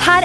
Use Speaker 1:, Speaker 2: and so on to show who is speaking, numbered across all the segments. Speaker 1: her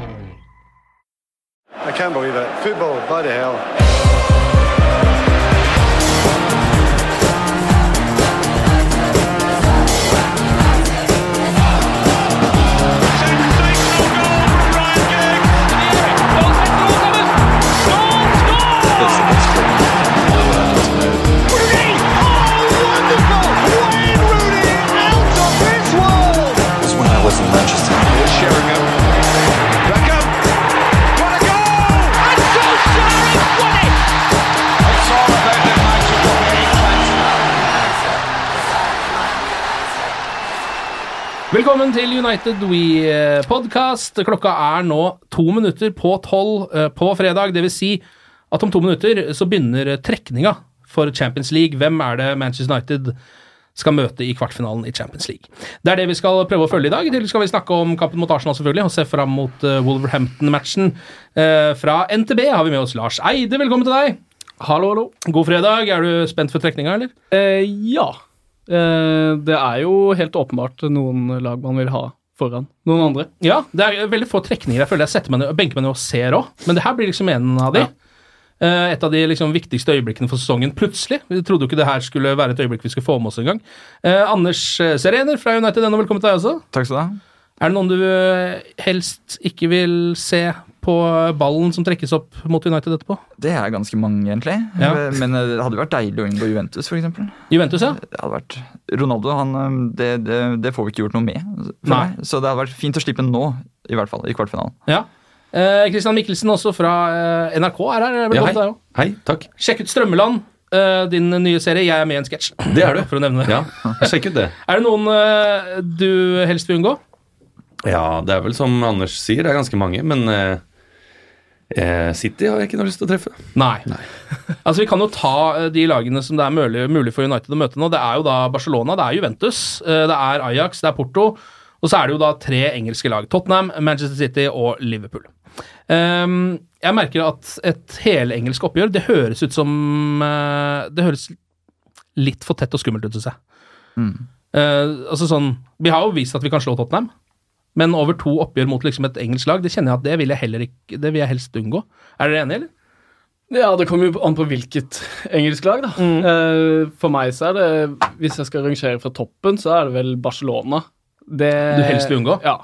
Speaker 2: I can't believe it. Football, bloody hell.
Speaker 3: Velkommen til United We-podkast. Klokka er nå to minutter på tolv eh, på fredag. Det vil si at om to minutter så begynner trekninga for Champions League. Hvem er det Manchester United skal møte i kvartfinalen i Champions League? Det er det vi skal prøve å følge i dag. I tillegg skal vi snakke om kampen mot Arsenal selvfølgelig, og se fram mot eh, Wolverhampton-matchen. Eh, Fra NTB har vi med oss Lars Eide. Velkommen til deg.
Speaker 4: Hallo, hallo.
Speaker 3: God fredag. Er du spent for trekninga, eller?
Speaker 4: Eh, ja. Eh, det er jo helt åpenbart noen lag man vil ha foran noen andre.
Speaker 3: Ja, det er veldig få trekninger. Jeg føler jeg setter meg ned, benker meg ned og ser òg, men det her blir liksom en av de.
Speaker 4: Ja.
Speaker 3: Eh, Et av de liksom viktigste øyeblikkene for sesongen plutselig. Vi trodde jo ikke det her skulle være et øyeblikk vi skulle få med oss engang. Eh, Anders eh, Serener fra United NO, velkommen til deg også.
Speaker 5: Takk skal du ha.
Speaker 3: Er det noen du eh, helst ikke vil se på ballen som trekkes opp mot United etterpå?
Speaker 5: Det er ganske mange, egentlig.
Speaker 3: Ja.
Speaker 5: Men eh, det hadde vært deilig å unngå Juventus, f.eks.
Speaker 3: Juventus, ja.
Speaker 5: Ronaldo han, eh, det, det, det får vi ikke gjort noe med. For
Speaker 3: Nei.
Speaker 5: meg. Så det hadde vært fint å slippe nå, i hvert fall. I kvartfinalen.
Speaker 3: ja. Eh, Christian Mikkelsen også fra eh, NRK er her. Velkommen til deg òg.
Speaker 6: Hei, takk.
Speaker 3: Sjekk ut Strømmeland, eh, din nye serie. Jeg er med i en sketsj.
Speaker 6: Det er du.
Speaker 3: For å nevne det.
Speaker 6: Ja, sjekk ut det.
Speaker 3: Er det noen eh, du helst vil unngå?
Speaker 6: Ja, det er vel som Anders sier, det er ganske mange, men eh, eh, City har jeg ikke noe lyst til å treffe.
Speaker 3: Nei. altså Vi kan jo ta eh, de lagene som det er mulig, mulig for United å møte nå. Det er jo da Barcelona, det er Juventus, eh, det er Ajax, det er Porto. Og så er det jo da tre engelske lag. Tottenham, Manchester City og Liverpool. Ehm, jeg merker at et helengelsk oppgjør, det høres ut som eh, Det høres litt for tett og skummelt ut, syns jeg. Eh, altså sånn Vi har jo vist at vi kan slå Tottenham. Men over to oppgjør mot liksom et engelsk lag, det kjenner jeg at det vil jeg heller ikke, det vil jeg helst unngå. Er dere enige, eller?
Speaker 4: Ja, det kommer jo an på hvilket engelsk lag, da.
Speaker 3: Mm.
Speaker 4: Eh, for meg så er det, hvis jeg skal rangere fra toppen, så er det vel Barcelona. Det,
Speaker 3: Du helst vil unngå?
Speaker 4: Ja.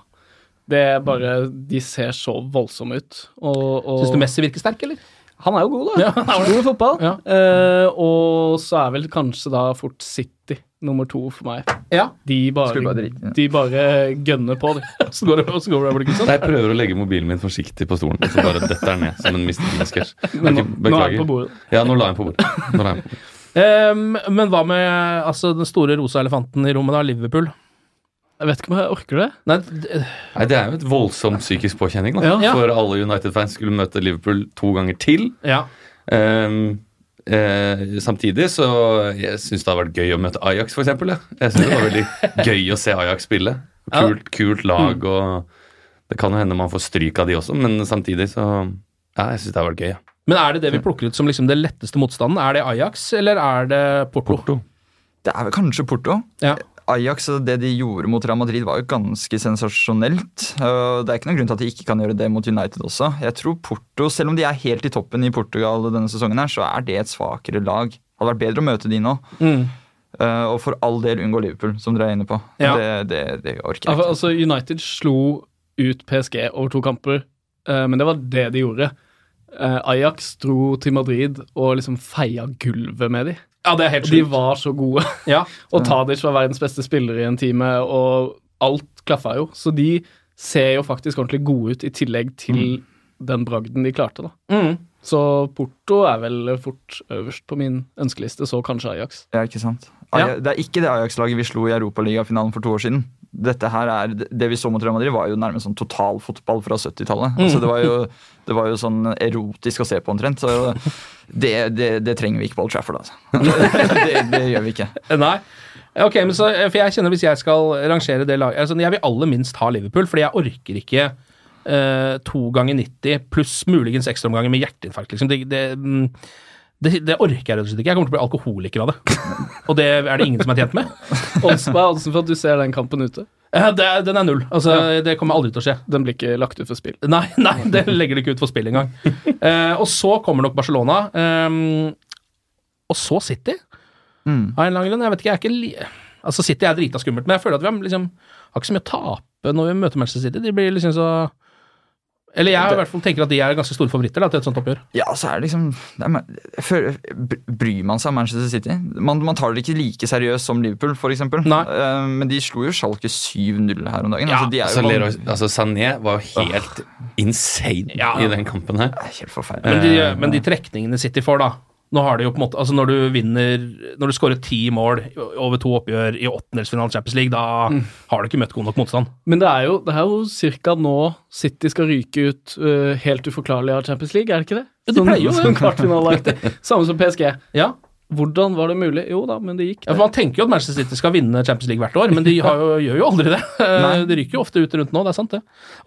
Speaker 4: Det er bare De ser så voldsomme ut. Og, og
Speaker 3: Syns du Messi virker sterk, eller?
Speaker 4: Han er jo god, da.
Speaker 3: Ja, han er det.
Speaker 4: god i fotball.
Speaker 3: Ja.
Speaker 4: Eh, og så er vel kanskje da fort City nummer to for meg.
Speaker 3: Ja.
Speaker 4: De bare,
Speaker 5: Skulle bare drite, ja.
Speaker 4: de bare gønner på, de.
Speaker 3: Åssen går det åssen går det over Kristian?
Speaker 6: Jeg prøver å legge mobilen min forsiktig på stolen, og så bare detter den ned som en mistet sketsj.
Speaker 4: Men nå, nå er det på bordet.
Speaker 6: Ja, nå la jeg den på bordet. Nå la jeg den på bordet.
Speaker 3: Ehm, men hva med altså, den store rosa elefanten i rommet, da? Liverpool?
Speaker 4: Jeg vet ikke om jeg orker det.
Speaker 3: Nei, d-
Speaker 6: Nei, Det er jo et voldsomt psykisk påkjenning da.
Speaker 3: Ja.
Speaker 6: for alle United-fans skulle møte Liverpool to ganger til.
Speaker 3: ja.
Speaker 6: Ehm, eh, samtidig så jeg syns det har vært gøy å møte Ajax, f.eks. Jeg, jeg synes det var veldig gøy å se Ajax spille. Kult, kult lag, og det kan jo hende man får stryk av de også, men samtidig så Ja, jeg syns det har vært gøy. Ja.
Speaker 3: Men er det det vi plukker ut som liksom det letteste motstanden? Er det Ajax, eller er det Porto?
Speaker 5: Det er vel kanskje Porto.
Speaker 3: Ja.
Speaker 5: Ajax og det de gjorde mot Real Madrid, var jo ganske sensasjonelt. og Det er ikke noen grunn til at de ikke kan gjøre det mot United også. Jeg tror Porto, Selv om de er helt i toppen i Portugal denne sesongen, her, så er det et svakere lag. Det hadde vært bedre å møte de nå.
Speaker 4: Mm.
Speaker 5: Eh, og for all del unngå Liverpool, som dere er inne på.
Speaker 3: Ja.
Speaker 5: Det, det, det orker jeg
Speaker 4: Al-
Speaker 5: ikke.
Speaker 4: Altså, United slo ut PSG over to kamper, eh, men det var det de gjorde. Eh, Ajax dro til Madrid og liksom feia gulvet med de.
Speaker 3: Ja, det er helt
Speaker 4: og de var så gode. og Tadic var verdens beste spiller i en time, og alt klaffa jo. Så de ser jo faktisk ordentlig gode ut, i tillegg til den bragden de klarte, da.
Speaker 3: Mm.
Speaker 4: Så Porto er vel fort øverst på min ønskeliste, så kanskje Ajax.
Speaker 5: Ja, ikke sant? Aja- Det er ikke det Ajax-laget vi slo i Europaligafinalen for to år siden. Dette her er, Det vi så mot Real Madrid, var jo nærmest sånn totalfotball fra 70-tallet. Altså, det, var jo- det var jo sånn erotisk å se på, omtrent. Så det, det, det trenger vi ikke på Old Trafford, altså. Det, det gjør vi ikke.
Speaker 3: Nei. Ok, men så, eh, for jeg kjenner Hvis jeg skal rangere det laget altså, Jeg vil aller minst ha Liverpool, fordi jeg orker ikke eh, to ganger 90 pluss muligens ekstraomganger med hjerteinfarkt. Liksom. Det, det, mm, det, det orker jeg rett og slett ikke. Jeg kommer til å bli alkoholiker av det. Og det er det ingen som er tjent med.
Speaker 4: Odds- Hva er oddsen for at du ser den kampen ute?
Speaker 3: Eh, det, den er null. Altså, Det kommer aldri til å skje.
Speaker 4: Den blir ikke lagt ut for spill.
Speaker 3: Nei, nei, det legger det ikke ut for spill engang. Eh, og så kommer nok Barcelona. ehm, og så City.
Speaker 5: Mm.
Speaker 3: Av en eller annen grunn. Jeg vet ikke, jeg er ikke li Altså City er drita skummelt, men jeg føler at vi har, liksom, har ikke så mye å tape når vi møter Manchester City. De blir liksom så Eller jeg i hvert fall tenker at de er ganske store favoritter da, til et sånt oppgjør.
Speaker 5: Ja, så er det liksom det er, jeg føler, Bryr man seg om Manchester City? Man, man tar det ikke like seriøst som Liverpool, f.eks. Men de slo jo Schalke 7-0 her om dagen. altså, de er
Speaker 6: altså,
Speaker 5: jo
Speaker 6: Leroy, altså Sané var jo helt insane i den kampen her.
Speaker 5: Helt forferdelig.
Speaker 3: Men de,
Speaker 4: Eh,
Speaker 3: men de trekningene City får, da nå har de jo på en måte, altså Når du vinner Når du skårer ti mål over to oppgjør i åttendelsfinalen Champions League, da har du ikke møtt god nok motstand.
Speaker 4: Mm. Men det er jo, det er jo ca. nå City skal ryke ut eh, helt uforklarlig av Champions League, er det ikke det?
Speaker 3: Ja, de pleier jo det.
Speaker 4: sånn kvartfinaleaktig. Samme som PSG.
Speaker 3: Ja,
Speaker 4: Hvordan var det mulig? Jo da, men det gikk.
Speaker 3: Ja, for Man tenker jo at Manchester City skal vinne Champions League hvert år, men de har jo, gjør jo aldri det.
Speaker 5: Nei.
Speaker 3: De ryker jo ofte ut rundt nå, det er sant det.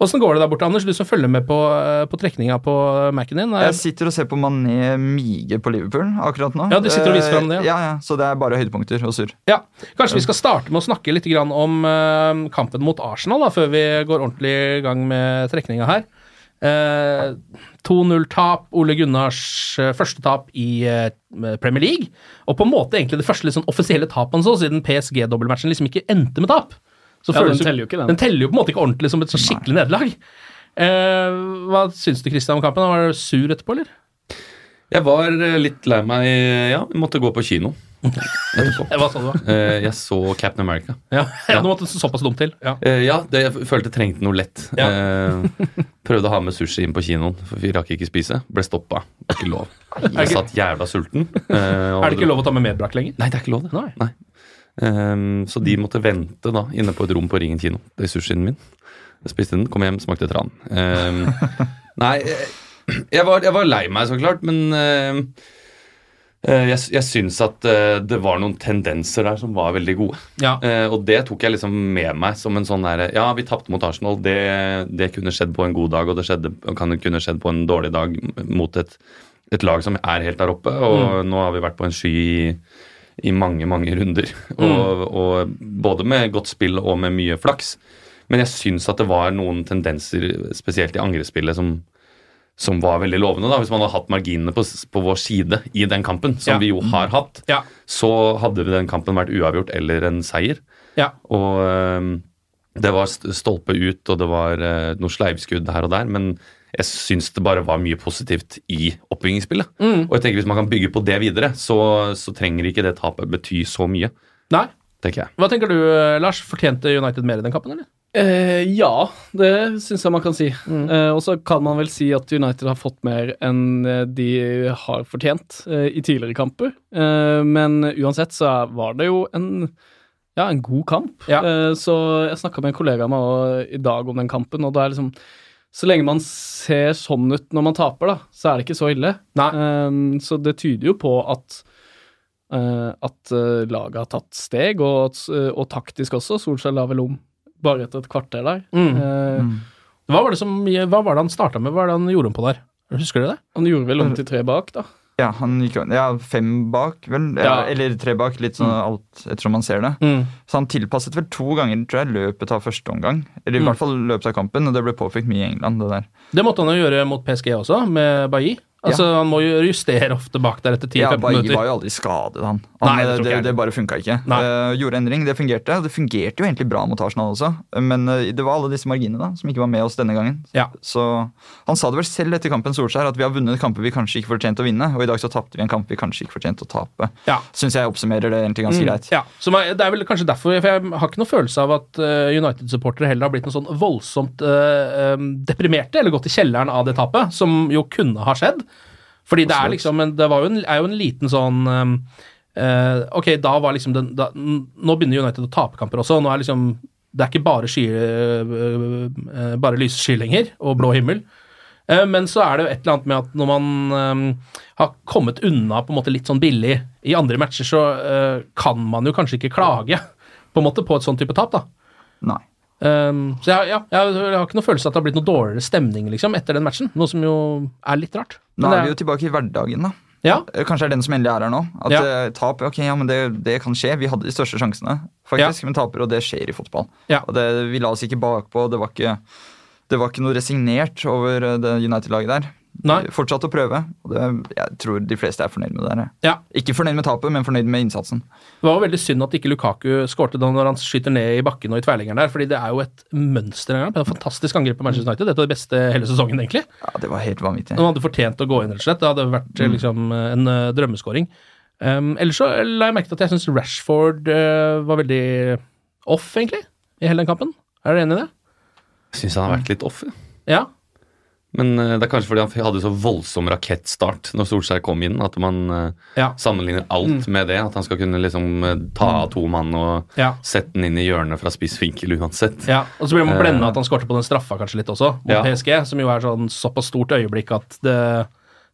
Speaker 3: Åssen går det der borte, Anders? Du som følger med på, eh, på trekninga på eh, Mac-en din.
Speaker 5: Jeg sitter og ser på Mané mige på Liverpool akkurat nå. Eh,
Speaker 3: Ja, du sitter og viser frem det, ja.
Speaker 5: Ja, ja, Så det er bare høydepunkter og surr.
Speaker 3: Ja, Kanskje vi skal starte med å snakke litt grann om eh, kampen mot Arsenal, da, før vi går ordentlig i gang med trekninga her. Eh, 2-0-tap, Ole Gunnars eh, første tap i eh, Premier League. Og på en måte egentlig det første litt sånn offisielle tapet hans òg, siden PSG-dobbeltmatchen liksom ikke endte med tap. Så
Speaker 4: Ja,
Speaker 3: føles
Speaker 4: den teller jo ikke, den.
Speaker 3: Den teller jo på en måte ikke ordentlig som et sånn skikkelig nederlag. Eh, hva syns du Christian om kampen? Var du sur etterpå, eller?
Speaker 6: Jeg var eh, litt lei meg Ja, jeg måtte gå på kino etterpå.
Speaker 3: Eh, Hva sa du? da?
Speaker 6: Eh, Jeg så Captain America.
Speaker 3: Ja, ja. Du måtte såpass dumt til. Ja.
Speaker 6: Eh, Ja, det, jeg følte jeg trengte noe lett.
Speaker 3: Ja.
Speaker 6: Eh, Prøvde å ha med sushi inn på kinoen, for vi rakk ikke spise. Ble stoppa. Det var Ikke lov. Jeg satt jævla sulten.
Speaker 3: Er det ikke
Speaker 6: å
Speaker 3: lov å ta med medbrakt lenger?
Speaker 6: Nei, det er ikke lov, det.
Speaker 3: Nei.
Speaker 6: Ehm, så de måtte vente da, inne på et rom på Ringen kino. Det er sushien min. Jeg spiste den, kom hjem, smakte tran. Ehm, nei, eh, jeg var, jeg var lei meg, så klart, men ehm, eh, jeg, jeg syns at eh, det var noen tendenser der som var veldig gode.
Speaker 3: Ja.
Speaker 6: Eh, og det tok jeg liksom med meg som en sånn derre Ja, vi tapte mot Arsenal. Det, det kunne skjedd på en god dag, og det skjedde, og kan kunne skjedd på en dårlig dag mot et, et lag som er helt der oppe. Og
Speaker 3: Mm.
Speaker 6: nå har vi vært på en sky i, i mange, mange runder.
Speaker 3: Mm.
Speaker 6: Og, og både med godt spill og med mye flaks. Men jeg syns at det var noen tendenser, spesielt i angrespillet, som, som var veldig lovende. da, Hvis man hadde hatt marginene på, s- på vår side i den kampen, som
Speaker 3: Ja. Mm.
Speaker 6: vi jo har hatt,
Speaker 3: Ja.
Speaker 6: så hadde den kampen vært uavgjort eller en seier.
Speaker 3: Ja.
Speaker 6: Og øhm, det var st- stolpe ut, og det var øh, noen sleivskudd her og der, men jeg syns det bare var mye positivt i oppbyggingsspillet.
Speaker 3: Mm.
Speaker 6: Og jeg tenker hvis man kan bygge på det videre, så, så trenger ikke det tapet bety så mye,
Speaker 3: Nei.
Speaker 6: tenker jeg.
Speaker 3: Hva tenker du, eh, Lars? Fortjente United mer i den kampen, eller? Mm.
Speaker 4: Eh, ja, det syns jeg man kan si. Eh, og så kan man vel si at United har fått mer enn eh, de har fortjent eh, i tidligere kamper. Eh, men uansett så er- var det jo en ja, en god kamp.
Speaker 3: Ja.
Speaker 4: Eh, så jeg snakka med en kollega av meg og- i dag om den kampen, og det er liksom Så lenge man ser sånn ut når man taper, da, så er det ikke så ille.
Speaker 3: Nei.
Speaker 4: Eh, så det tyder jo på at eh, at eh, laget har tatt steg, og, at, eh, og taktisk også. Solskjær la vel om bare etter et kvarter der.
Speaker 5: Mm.
Speaker 4: Eh,
Speaker 3: Hva var det, som, hva var det han starta med? Hva er det han gjorde om på der? Husker du det?
Speaker 4: Han gjorde vel om til tre bak, da.
Speaker 5: Ja, han gikk, ja, fem bak, vel?
Speaker 4: Ja.
Speaker 5: Eller tre bak, litt sånn
Speaker 3: Mm.
Speaker 5: alt ettersom man ser det. Så han tilpasset vel to ganger tror jeg, løpet av første omgang. Eller
Speaker 3: Mm.
Speaker 5: i hvert fall løpet av kampen, og det ble påpekt mye i England. det der.
Speaker 3: Det måtte han jo gjøre mot PSG også, med Bailly. Altså, Han må jo justere ofte bak der etter 10-15
Speaker 5: Ja, Bailly
Speaker 3: minutter.
Speaker 5: var jo aldri skadet, han. han eh,
Speaker 3: Nei, det tror ikke
Speaker 5: det,
Speaker 3: jeg.
Speaker 5: det bare funka ikke. Eh, gjorde endring, det fungerte. og Det fungerte jo egentlig bra mot Arsenal også, men eh, det var alle disse marginene da, som ikke var med oss denne gangen. Så Han sa det vel selv etter kampen Solskjær, at vi har vunnet kamper vi kanskje ikke fortjente å vinne, og i dag så tapte vi en kamp vi kanskje ikke fortjente å tape.
Speaker 3: Ja.
Speaker 5: Syns jeg oppsummerer det egentlig ganske
Speaker 3: Mm,
Speaker 5: greit.
Speaker 3: Ja, så man- Det er vel kanskje derfor, for jeg har ikke noen følelse av at eh, United-supportere heller har blitt noe sånn voldsomt eh, em, deprimerte, eller gått i kjelleren av det tapet, som jo kunne ha skjedd. Fordi det er liksom en, det var jo en, er jo en liten sånn em, eh, Ok, da var liksom den da, n- Nå begynner United å tape kamper også. Nå er liksom Det er ikke bare, sky, eh, eh, bare lyssky lenger, og blå himmel. Eh, Men så er det jo et eller annet med at når man ehm, har kommet unna på en måte litt sånn billig i andre matcher, så eh, kan man jo kanskje ikke klage på en måte på et sånn type tap, da.
Speaker 5: Nei.
Speaker 3: Ehm, så jeg, ja, jeg, jeg har ikke noe følelse av at det har blitt noe dårligere stemning liksom, etter den matchen, noe som jo er litt rart.
Speaker 5: Nå
Speaker 3: Men
Speaker 5: er vi
Speaker 3: det
Speaker 5: jo tilbake i hverdagen, da.
Speaker 3: Ja.
Speaker 5: Eh, Kanskje det er den som endelig er her nå. At
Speaker 3: Ja.
Speaker 5: eh, tap, ok, ja, men det, det kan skje. Vi hadde de største sjansene, faktisk, men taper, og det skjer i fotball.
Speaker 3: Ja.
Speaker 5: Og det, Vi la oss ikke bakpå. Det var ikke, det var ikke noe resignert over eh, det United-laget der. Eh,
Speaker 3: Nei.
Speaker 5: Fortsatt å prøve. Og det, jeg tror de fleste er fornøyd med det. her.
Speaker 3: Ja.
Speaker 5: Ikke fornøyd med tapet, men fornøyd med innsatsen.
Speaker 3: Det var jo veldig synd at ikke Lukaku skårte da når han skyter ned i bakken og i tverrleggeren der, fordi det er jo et mønster en gang. Det er et fantastisk angrep på Manchester United. Dette var det beste hele sesongen, egentlig.
Speaker 5: Ja, Det var helt vanvittig.
Speaker 3: Han hadde fortjent å gå inn, rett og slett. Det hadde vært eh,
Speaker 5: Mm.
Speaker 3: liksom en eh, drømmeskåring. Um, ellers så la jeg merke til at jeg syns Rashford eh, var veldig off, egentlig, i hele den kampen. Er dere enig i det?
Speaker 6: Jeg syns han har vært litt off. jeg.
Speaker 3: Ja.
Speaker 6: Men eh, det er kanskje fordi han hadde så voldsom rakettstart når Solskjær kom inn, at man eh,
Speaker 3: Ja.
Speaker 6: sammenligner alt
Speaker 3: Mm.
Speaker 6: med det. At han skal kunne liksom eh, ta av to mann og
Speaker 3: Ja.
Speaker 6: sette den inn i hjørnet fra spiss vinkel uansett.
Speaker 3: ja. Og så blir man
Speaker 6: Eh,
Speaker 3: blenda at han skårte på den straffa kanskje litt også, mot
Speaker 6: Ja.
Speaker 3: PSG, som jo er sånn såpass stort øyeblikk at det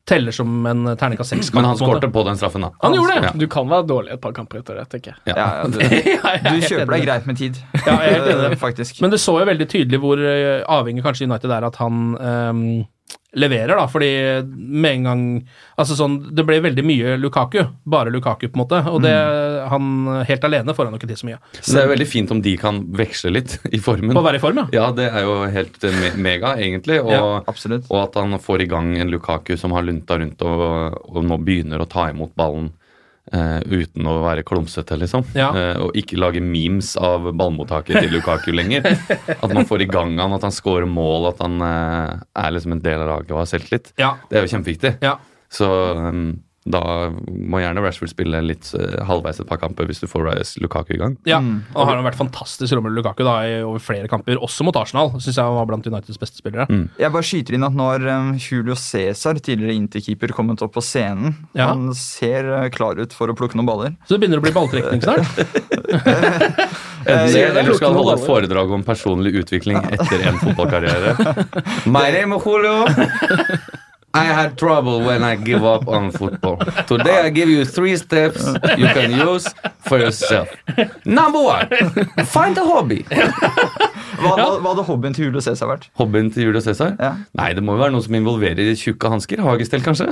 Speaker 3: teller som en terning av seks.
Speaker 6: Men han skårte på den straffen, da.
Speaker 3: Han gjorde det!
Speaker 6: Ja.
Speaker 4: Du kan være dårlig et par kamper etter det, tenker jeg.
Speaker 6: Ja.
Speaker 5: Ja, ja, det,
Speaker 3: Jeg er
Speaker 5: du
Speaker 3: helt
Speaker 5: kjøper
Speaker 3: enig.
Speaker 5: deg greit med tid,
Speaker 3: Ja, jeg er helt enig.
Speaker 5: eh, faktisk.
Speaker 3: Men det så jo veldig tydelig hvor eh, avhengig kanskje United er at han ehm, leverer, da. Fordi med en gang Altså sånn, det ble veldig mye Lukaku. Bare Lukaku, på en måte. Og det,
Speaker 4: Mm.
Speaker 3: han eh, helt alene får han jo ikke til så mye.
Speaker 6: Så det er jo veldig fint om de kan veksle litt i formen.
Speaker 3: Mm. På å være i form, ja.
Speaker 6: Ja, det er jo helt eh, me mega, egentlig. Og,
Speaker 3: Ja,
Speaker 5: absolutt.
Speaker 6: og at han får i gang en Lukaku som har lunta rundt og, og nå begynner å ta imot ballen eh, uten å være klumsete, liksom.
Speaker 3: Ja.
Speaker 6: Eh, og ikke lage memes av ballmottaket til Lukaku lenger. At man får i gang han, at han scorer mål, at han eh, er liksom en del av laget og har selvtillit.
Speaker 3: Ja.
Speaker 6: Det er jo kjempeviktig.
Speaker 3: Ja.
Speaker 6: Så um, da må gjerne Rashford spille litt eh, halvveis et par kamper hvis du får Rice Lukaku i gang.
Speaker 3: Ja,
Speaker 4: Mm.
Speaker 3: og har han vært fantastisk Romelu Lukaku da, i, over flere kamper, også mot Arsenal. Syns jeg han var blant Uniteds beste spillere.
Speaker 4: Mm.
Speaker 5: Jeg bare skyter inn at nå har um, Julio Cæsar, tidligere Inter-keeper, kommet opp på scenen.
Speaker 3: Ja.
Speaker 5: Han ser uh, klar ut for å plukke noen baller.
Speaker 3: Så det begynner å bli balltrekning snart.
Speaker 6: Enten
Speaker 5: Eh,
Speaker 6: det,
Speaker 5: ja, det er
Speaker 6: eller skal han
Speaker 5: klokt å
Speaker 6: holde et
Speaker 5: holde.
Speaker 6: foredrag om personlig utvikling etter en fotballkarriere. My name is Julio. I had trouble when I give up on football. Today I give you three steps you can use for yourself. Number one, find a hobby.
Speaker 5: Hva, hva, hva hadde hobbyen til Julio Cæsar vært?
Speaker 6: Hobbyen til Julio Cæsar?
Speaker 5: Ja.
Speaker 6: Nei, det må jo være noe som involverer tjukke hansker. Hagestell, kanskje?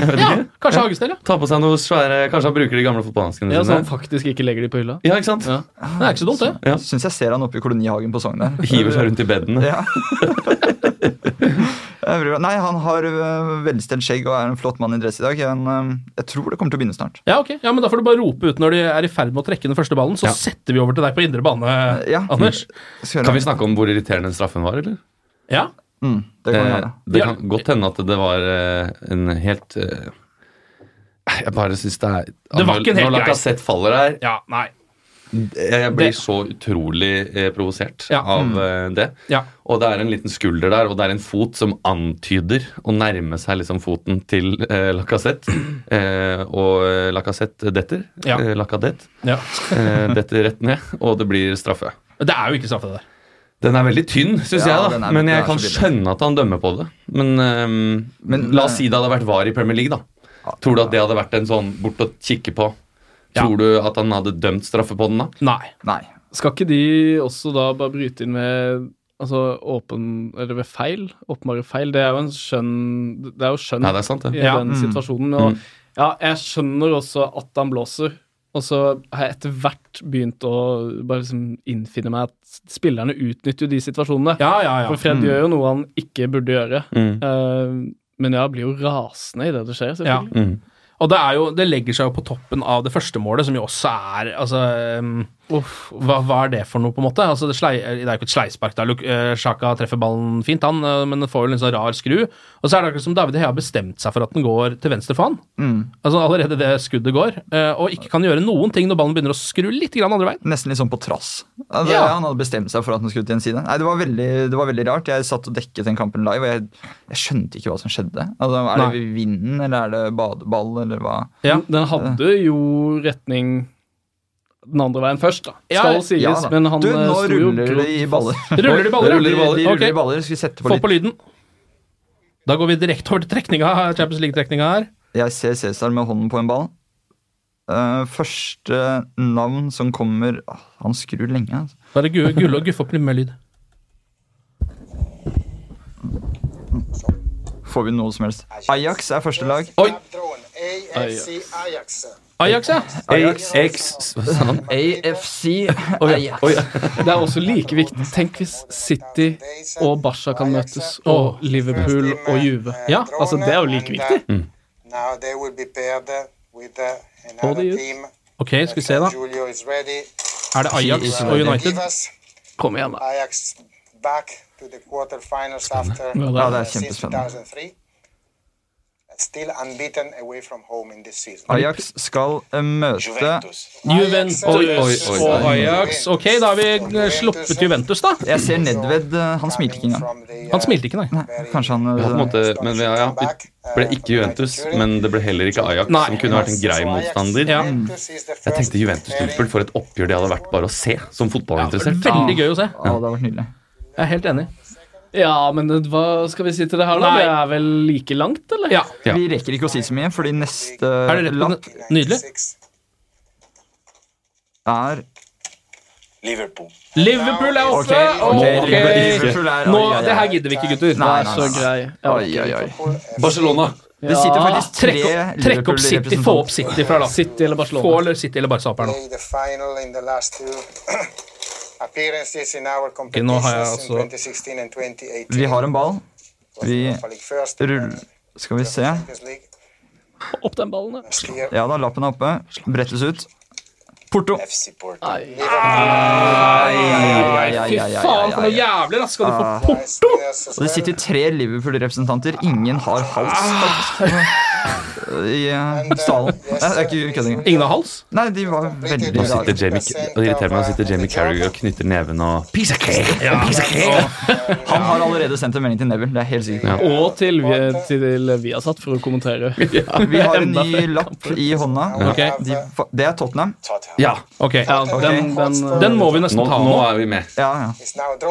Speaker 3: Ja, kanskje Hagestell, ja.
Speaker 6: Ta på seg noe svære Kanskje han bruker de gamle fotballhanskene
Speaker 4: Ja, Så han
Speaker 6: sine?
Speaker 4: faktisk ikke legger de på hylla?
Speaker 6: Ja, ikke sant?
Speaker 4: Ja.
Speaker 3: Det er ikke så dumt, det.
Speaker 6: Ja.
Speaker 5: Syns jeg ser han oppe i kolonihagen på Sogn der.
Speaker 6: Hiver seg rundt i bedene.
Speaker 5: Ja. Jeg bryr meg- Nei, han har uh, velstelt skjegg og er en flott mann i dress i dag. Han, um, jeg tror det kommer til å begynne snart.
Speaker 3: Ja, ok. Ja, men Da får du bare rope ut når de er i ferd med å trekke den første ballen, så
Speaker 6: Ja.
Speaker 3: setter vi over til deg på indre bane,
Speaker 5: Ja.
Speaker 3: Anders.
Speaker 5: Skal
Speaker 6: Kan vi snakke om hvor irriterende den straffen var, eller?
Speaker 3: Ja.
Speaker 5: Mm, det kan vi
Speaker 6: Eh,
Speaker 5: gjøre.
Speaker 6: det
Speaker 3: Ja.
Speaker 6: kan godt hende at det var eh, en helt eh, Jeg bare syns det er
Speaker 3: Det var ikke en helt
Speaker 6: Når
Speaker 3: grei-
Speaker 6: Lacassette faller her
Speaker 3: Ja, nei.
Speaker 6: Jeg blir
Speaker 3: Det-
Speaker 6: så utrolig eh, provosert
Speaker 3: Ja. Mm.
Speaker 6: av eh, det.
Speaker 3: Ja.
Speaker 6: Og det er en liten skulder der, og det er en fot som antyder å nærme seg liksom foten til eh, Lacassette. Eh, og eh, Lacassette detter.
Speaker 3: Ja.
Speaker 6: Eh, Lacadette
Speaker 3: ja.
Speaker 6: eh, detter rett ned, og det blir straffe.
Speaker 3: Men Det er jo ikke straffe, det der.
Speaker 6: Den er veldig tynn, syns
Speaker 5: Ja,
Speaker 6: jeg,
Speaker 5: den
Speaker 6: da.
Speaker 5: er-
Speaker 6: men
Speaker 5: den
Speaker 6: jeg
Speaker 5: er
Speaker 6: kan
Speaker 5: så billig.
Speaker 6: skjønne at han dømmer på det. Men, ehm,
Speaker 5: Men- eh,
Speaker 6: la oss si det hadde vært VAR i Premier League, da. Tror du at det hadde vært en sånn bort og kikke på?
Speaker 3: Ja.
Speaker 6: Tror du at han hadde dømt straffe på den, da?
Speaker 3: Nei.
Speaker 5: Nei.
Speaker 4: Skal ikke de også da bare bryte inn med altså, åpen, eller ved feil? Åpenbare feil. Det er jo en skjønn Det er jo skjønn
Speaker 6: Nei, det er sant, det.
Speaker 4: i
Speaker 3: Ja,
Speaker 4: den
Speaker 5: mm.
Speaker 4: situasjonen. Og ja, jeg skjønner også at han blåser. Og så har jeg etter hvert begynt å bare liksom innfinne meg at spillerne utnytter jo de situasjonene.
Speaker 3: Ja, ja, ja. Mm.
Speaker 4: For Fred gjør jo noe han ikke burde gjøre. Eh, Men jeg blir jo rasende idet det skjer,
Speaker 3: Ja.
Speaker 4: selvfølgelig.
Speaker 5: Mm.
Speaker 3: Og det, er jo, det legger seg jo på toppen av det første målet, som jo også er altså, um, Hva, hva er det for noe, på en måte? Altså, det, slei, det er jo ikke et sleispark. der, Luk- eh, Sjaka treffer ballen fint, han, eh, men den får jo en litt sånn rar skru. Og så er det akkurat som David Hea har bestemt seg for at den går til venstre for han.
Speaker 5: Mm.
Speaker 3: Altså Allerede det skuddet går, eh, og ikke kan gjøre noen ting når ballen begynner å skru litt grann andre veien.
Speaker 5: Nesten litt sånn på trass. Altså,
Speaker 3: Ja.
Speaker 5: Han hadde bestemt seg for at han skulle til en side. Nei, det var, veldig, det var veldig rart. Jeg satt og dekket den kampen live, og jeg, jeg skjønte ikke hva som skjedde. Altså, er det vinden, eller er det badeball, eller hva?
Speaker 4: Den- Den hadde jo retning den andre veien først, da.
Speaker 5: Ja,
Speaker 4: Skal sies,
Speaker 5: ja da.
Speaker 4: men han
Speaker 5: Du,
Speaker 4: eh,
Speaker 5: nå
Speaker 4: sto jo
Speaker 5: ruller det i
Speaker 4: grovt
Speaker 5: baller.
Speaker 4: fast.
Speaker 3: Det ruller i baller, ja.
Speaker 5: de, de ruller
Speaker 3: Ok.
Speaker 5: i baller. Skal vi sette på
Speaker 3: Få
Speaker 5: litt
Speaker 3: på lyden. Da går vi direkte over til trekninga, Champions League-trekninga her.
Speaker 5: Jeg ser Cæsar med hånden på en ball. Eh, første navn som kommer Åh, Han skrur lenge, altså.
Speaker 3: Bare gu- gulle og guffe opp litt mer lyd.
Speaker 5: Får vi noe som helst? Ajax er første lag.
Speaker 3: Ajax, ja.
Speaker 6: AX Hva sa han?
Speaker 5: AFC Ajax.
Speaker 4: Det er også like viktig. Tenk hvis City og Barca kan møtes, og Liverpool og Juve. Mm.
Speaker 3: Ja,
Speaker 4: altså Det er jo like viktig.
Speaker 7: Now they will be paired with uh,
Speaker 3: Hold
Speaker 7: another
Speaker 3: det ut.
Speaker 7: team.
Speaker 3: Ok, skal vi se, da.
Speaker 7: Julio is ready.
Speaker 3: Er det Ajax og United?
Speaker 7: Us
Speaker 4: Kom igjen, da.
Speaker 7: Ajax back to the quarterfinals after
Speaker 4: Ja, det er- Ja, det er
Speaker 7: uh, since
Speaker 5: kjempespennende.
Speaker 7: 2003. Still unbeaten away from home in this season.
Speaker 5: Ajax skal eh, møte
Speaker 3: Juventus
Speaker 5: Oi, oi, oi.
Speaker 3: og Ajax. Ok, da har vi eh, sluppet Juventus, da.
Speaker 5: Jeg ser Nedved. eh, Han smilte ikke engang.
Speaker 3: Han smilte ikke, nei.
Speaker 5: Kanskje han
Speaker 6: Ja, på en
Speaker 5: eh,
Speaker 6: måte, men ja, ja, det
Speaker 7: eh,
Speaker 6: ble ikke Juventus, men det ble heller ikke Ajax,
Speaker 3: Nei.
Speaker 6: som kunne vært en grei motstander.
Speaker 3: Ja.
Speaker 6: Jeg tenkte Juventus-Liverpool for et oppgjør det hadde vært bare å se, som fotballinteressert.
Speaker 3: Veldig gøy å se.
Speaker 5: Ja, det har vært nydelig.
Speaker 3: Jeg er helt enig.
Speaker 4: Ja, men det- hva skal vi si til det her, da?
Speaker 3: Nei.
Speaker 4: Det er vel like langt, eller?
Speaker 3: Ja.
Speaker 6: Ja.
Speaker 5: Vi rekker ikke å si så mye, fordi neste
Speaker 3: Er det rett på
Speaker 5: lapp
Speaker 3: den? Nydelig.
Speaker 5: er
Speaker 7: Liverpool.
Speaker 3: Liverpool er oppe!
Speaker 5: Ok,
Speaker 3: Ok.
Speaker 5: Liverpool er
Speaker 3: Nå,
Speaker 5: Ajax.
Speaker 3: det her gidder vi ikke, gutter.
Speaker 5: Nei,
Speaker 4: Det
Speaker 5: nei,
Speaker 4: er
Speaker 5: nei,
Speaker 4: så
Speaker 5: nei.
Speaker 4: grei. Ja.
Speaker 5: Oi, oi, oi.
Speaker 6: Barcelona.
Speaker 5: Det sitter faktisk tre
Speaker 3: Ah, Trekk opp, trekk opp City. Få opp City fra laget.
Speaker 4: City eller Barcelona?
Speaker 3: Få eller City eller Barca opp her nå.
Speaker 7: Play the final in the last two appearances in our
Speaker 3: nå har
Speaker 7: competitions
Speaker 3: jeg
Speaker 7: in
Speaker 3: altså-
Speaker 7: 2016 and 2018.
Speaker 5: Vi har en ball.
Speaker 7: Was
Speaker 5: Vi
Speaker 7: Europa League first,
Speaker 5: ruller Skal vi se.
Speaker 7: Champions League
Speaker 4: Opp den ballen, ja.
Speaker 7: last year.
Speaker 5: Ja da, lappen er oppe. Brettes ut. Porto.
Speaker 7: FC Porto.
Speaker 3: Fy faen, for noen jævler! da. Skal du
Speaker 5: Ah.
Speaker 3: få
Speaker 7: Liverpool.
Speaker 5: Og det sitter tre Liverpool-representanter. Ingen har hals faktisk, i eh, salen. Nei, Det er ikke kødding.
Speaker 3: Ingen har hals?
Speaker 5: Nei, de var veldig
Speaker 6: Nå sitter Jamie, og det irriterer meg, nå sitter Jamie Carragher og knytter neven og Piece of cake! Piece of cake!
Speaker 5: Han har allerede sendt en melding til Neville. Det er helt sikkert.
Speaker 6: Ja.
Speaker 4: Og til, vi- til vi har satt for å kommentere.
Speaker 5: Vi har en ny lapp i hånda.
Speaker 3: Ok.
Speaker 5: De, fa- det er Tottenham.
Speaker 6: Ja,
Speaker 3: Ok.
Speaker 4: Den, den,
Speaker 3: Den må vi
Speaker 6: nå,
Speaker 3: nesten ta
Speaker 6: nå
Speaker 3: nå.
Speaker 6: er vi med.
Speaker 5: Ja, ja.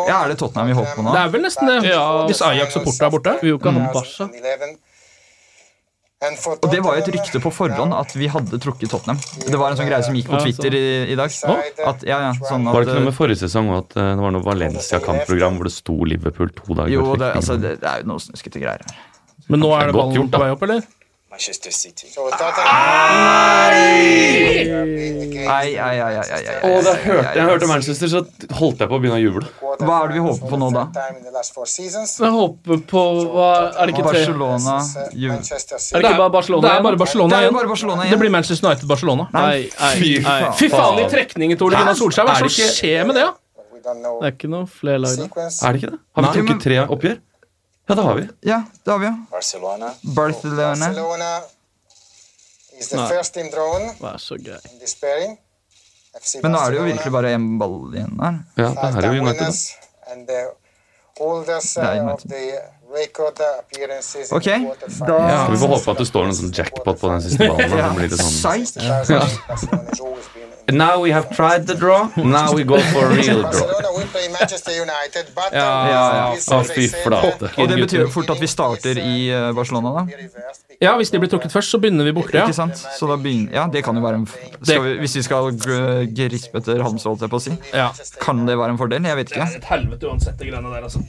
Speaker 5: ja, er det Tottenham vi håper på nå?
Speaker 3: Det er vel nesten det. Hvis Ajax og Porto er borte.
Speaker 4: Vi vil jo ikke ha Barca.
Speaker 5: Og det var jo et rykte på forhånd at vi hadde trukket Tottenham. Det var en sånn greie som gikk på Twitter i, i dag. At, ja, ja, sånn
Speaker 6: Var det ikke noe med
Speaker 5: at,
Speaker 6: forrige sesong også, at eh, det var noe Valencia-kampprogram hvor det sto Liverpool to dager
Speaker 5: jo,
Speaker 6: før
Speaker 5: det,
Speaker 6: trekningen?
Speaker 5: altså, det, det er jo noe snuskete greier her.
Speaker 3: Men nå er det
Speaker 6: Godt
Speaker 3: ballen
Speaker 6: gjort, da.
Speaker 3: på vei opp, eller?
Speaker 7: Manchester City. So Tottenham.
Speaker 5: Ah, Ai, ai, ai, ai, ai, ai, ai,
Speaker 6: Å, da
Speaker 5: ai,
Speaker 6: hørte,
Speaker 5: ai,
Speaker 6: jeg
Speaker 5: ai.
Speaker 6: hørte Manchester, så holdt jeg på å begynne å juble.
Speaker 5: Hva er det vi håper på nå, da?
Speaker 4: Jeg håper på hva, Er det ikke tre?
Speaker 5: Barcelona Ju-
Speaker 4: Er det ikke bare Barcelona?
Speaker 3: Det er bare
Speaker 4: igjen?
Speaker 5: Det
Speaker 3: Barcelona
Speaker 5: er jo
Speaker 3: igjen.
Speaker 5: bare Barcelona
Speaker 3: Det
Speaker 5: igjen.
Speaker 3: blir Manchester United-Barcelona.
Speaker 4: Nei, nei,
Speaker 6: Fy
Speaker 4: nei.
Speaker 6: faen.
Speaker 3: Fy faen, i trekningen til Ole Gunnar Solskjær, hva er det som
Speaker 6: Er det
Speaker 3: skjer med det? da?
Speaker 4: Det er ikke noe flere lag da.
Speaker 6: Er det ikke det? Har vi
Speaker 5: Nei.
Speaker 6: trukket tre oppgjør? Ja, det har vi.
Speaker 5: Ja, det har vi jo.
Speaker 7: Barcelona.
Speaker 5: Barcelona.
Speaker 7: Barcelona is the
Speaker 4: Nei.
Speaker 7: first team drawn
Speaker 4: Vær så grei.
Speaker 7: in this pairing. FC
Speaker 5: Men nå er det jo
Speaker 7: Barcelona,
Speaker 5: virkelig bare én ball igjen her.
Speaker 6: Ja, det her er
Speaker 7: five-time
Speaker 6: jo United. da.
Speaker 7: winners and the oldest
Speaker 5: Det er
Speaker 7: uh, of
Speaker 5: United.
Speaker 7: the record appearances
Speaker 5: Ok,
Speaker 7: in the quarterfinals.
Speaker 5: da-
Speaker 6: Ja, vi får håpe at det står noen sånn jackpot på den siste ballen. da. Det blir litt sånn.
Speaker 5: Psych!
Speaker 7: Barcelona has always been in-
Speaker 6: Now we have tried the draw, now we go for a real draw.
Speaker 7: Barcelona will play Manchester United, but
Speaker 3: Ja,
Speaker 5: ja,
Speaker 7: this
Speaker 6: Å,
Speaker 7: is a
Speaker 6: fy
Speaker 7: set,
Speaker 6: flate.
Speaker 5: Og det betyr jo fort at vi starter i eh, Barcelona,
Speaker 7: uh,
Speaker 5: da.
Speaker 7: reversed because
Speaker 3: Ja, hvis de blir trukket først, så begynner vi borte,
Speaker 5: Ikke
Speaker 3: ja.
Speaker 5: sant? Så da begynner Ja, det kan jo være en f- skal vi, Hvis vi skal gr- grispe etter Halmstad, holdt jeg på å si.
Speaker 3: ja.
Speaker 5: Kan det være en fordel? Jeg vet ikke.
Speaker 3: Et helvete uansett, de greiene der, altså.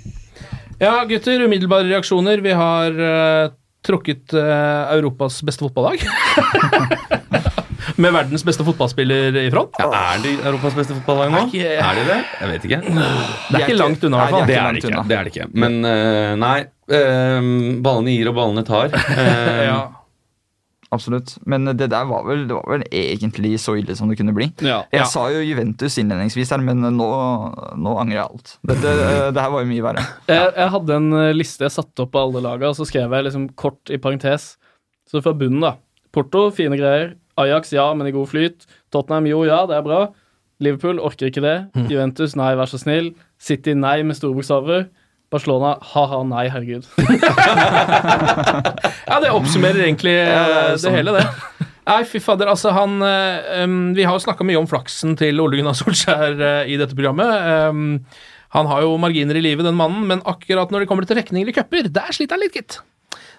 Speaker 3: Ja, gutter, umiddelbare reaksjoner. Vi har eh, trukket eh, Europas beste fotballag. Med verdens beste fotballspiller i front.
Speaker 6: Ja, er de Europas beste fotballag nå?
Speaker 3: ikke-
Speaker 6: Er de det? Jeg vet ikke.
Speaker 3: Det er ikke langt unna, i hvert
Speaker 5: Nei,
Speaker 3: fall.
Speaker 6: Det er
Speaker 5: de er
Speaker 6: det
Speaker 5: langt
Speaker 6: ikke.
Speaker 5: unna.
Speaker 6: Det er det ikke. Men eh, nei, Eh, ballene gir og ballene tar. Eh,
Speaker 5: Ja. Absolutt. Men det der var vel, det var vel egentlig så ille som det kunne bli.
Speaker 6: Ja.
Speaker 5: Jeg
Speaker 6: Ja.
Speaker 5: sa jo Juventus innledningsvis her, men nå, nå angrer jeg alt. Dette, det her var jo mye verre.
Speaker 4: Jeg, jeg hadde en eh, liste jeg satte opp av alle laga, og så skrev jeg liksom kort i parentes. Så fra bunnen, da. Porto, fine greier. Ajax, ja, men i god flyt. Tottenham, jo, ja, det er bra. Liverpool orker ikke det.
Speaker 3: Mm.
Speaker 4: Juventus, nei, vær så snill. City, nei, med store bokstaver. Barcelona, ha-ha, nei, herregud.
Speaker 3: Ja, det oppsummerer egentlig eh, det hele, det. Nei, fy fader, altså han eh, em, Vi har jo snakka mye om flaksen til Ole Gunnar Solskjær eh, i dette programmet. Em, han har jo marginer i livet, den mannen, men akkurat når det kommer til trekninger i cuper, der sliter han litt, gitt.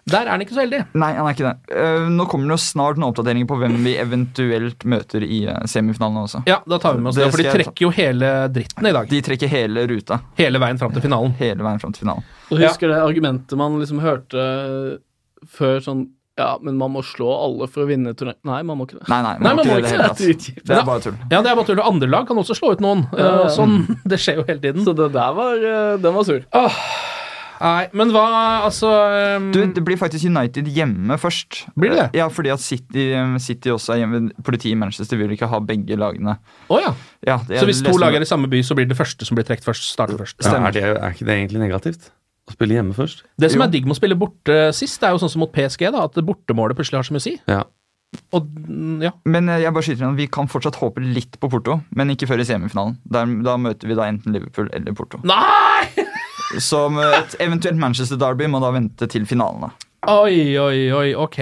Speaker 3: Der er han ikke så heldig.
Speaker 5: Nei, han er ikke det. Eh, Nå kommer det jo snart noen oppdateringer på hvem vi eventuelt møter i eh, semifinalene også.
Speaker 3: Ja, da tar vi med oss det, for de trekker jo hele dritten i dag.
Speaker 5: De trekker hele ruta.
Speaker 3: Hele veien fram til finalen.
Speaker 5: Hele veien fram til finalen.
Speaker 4: Og husker det argumentet man liksom hørte før sånn Ja, men man må slå alle for å vinne turneringen. Nei, man må ikke det.
Speaker 5: Nei, nei, man må ikke gjøre det i det hele tatt. Det er bare tull.
Speaker 3: Ja, det er bare tull. Og Andre lag kan også slå ut noen. eh,
Speaker 4: Ja, ja.
Speaker 3: Sånn, Det skjer jo hele tiden.
Speaker 4: Så det der var eh, Den var sur.
Speaker 3: Nei, men hva Altså
Speaker 5: Du, Det blir faktisk United hjemme først.
Speaker 3: Blir det det?
Speaker 5: Ja, fordi at City, eh, City også er hjemme. Politiet i Manchester vil ikke ha begge lagene.
Speaker 3: Å ja.
Speaker 5: Ja, det-
Speaker 3: Så hvis
Speaker 5: jeg
Speaker 3: to
Speaker 5: leste
Speaker 3: lag
Speaker 5: det.
Speaker 3: er i samme by, så blir det første som blir trukket først, starter først.
Speaker 6: ja, er, det, er ikke det egentlig negativt? Å spille hjemme først?
Speaker 3: Det som er digg med å spille borte sist, det er jo sånn som mot PSG, da, at bortemålet plutselig har så mye å si.
Speaker 6: Ja.
Speaker 3: Og, mm, ja.
Speaker 5: Men eh, jeg bare skyter igjen, vi kan fortsatt håpe litt på Porto, men ikke før i semifinalen. Der, da møter vi da enten Liverpool eller Porto.
Speaker 3: Nei!
Speaker 5: Som eh, et eventuelt Manchester Derby må da vente til finalen. da.
Speaker 3: Oi, oi, oi, ok.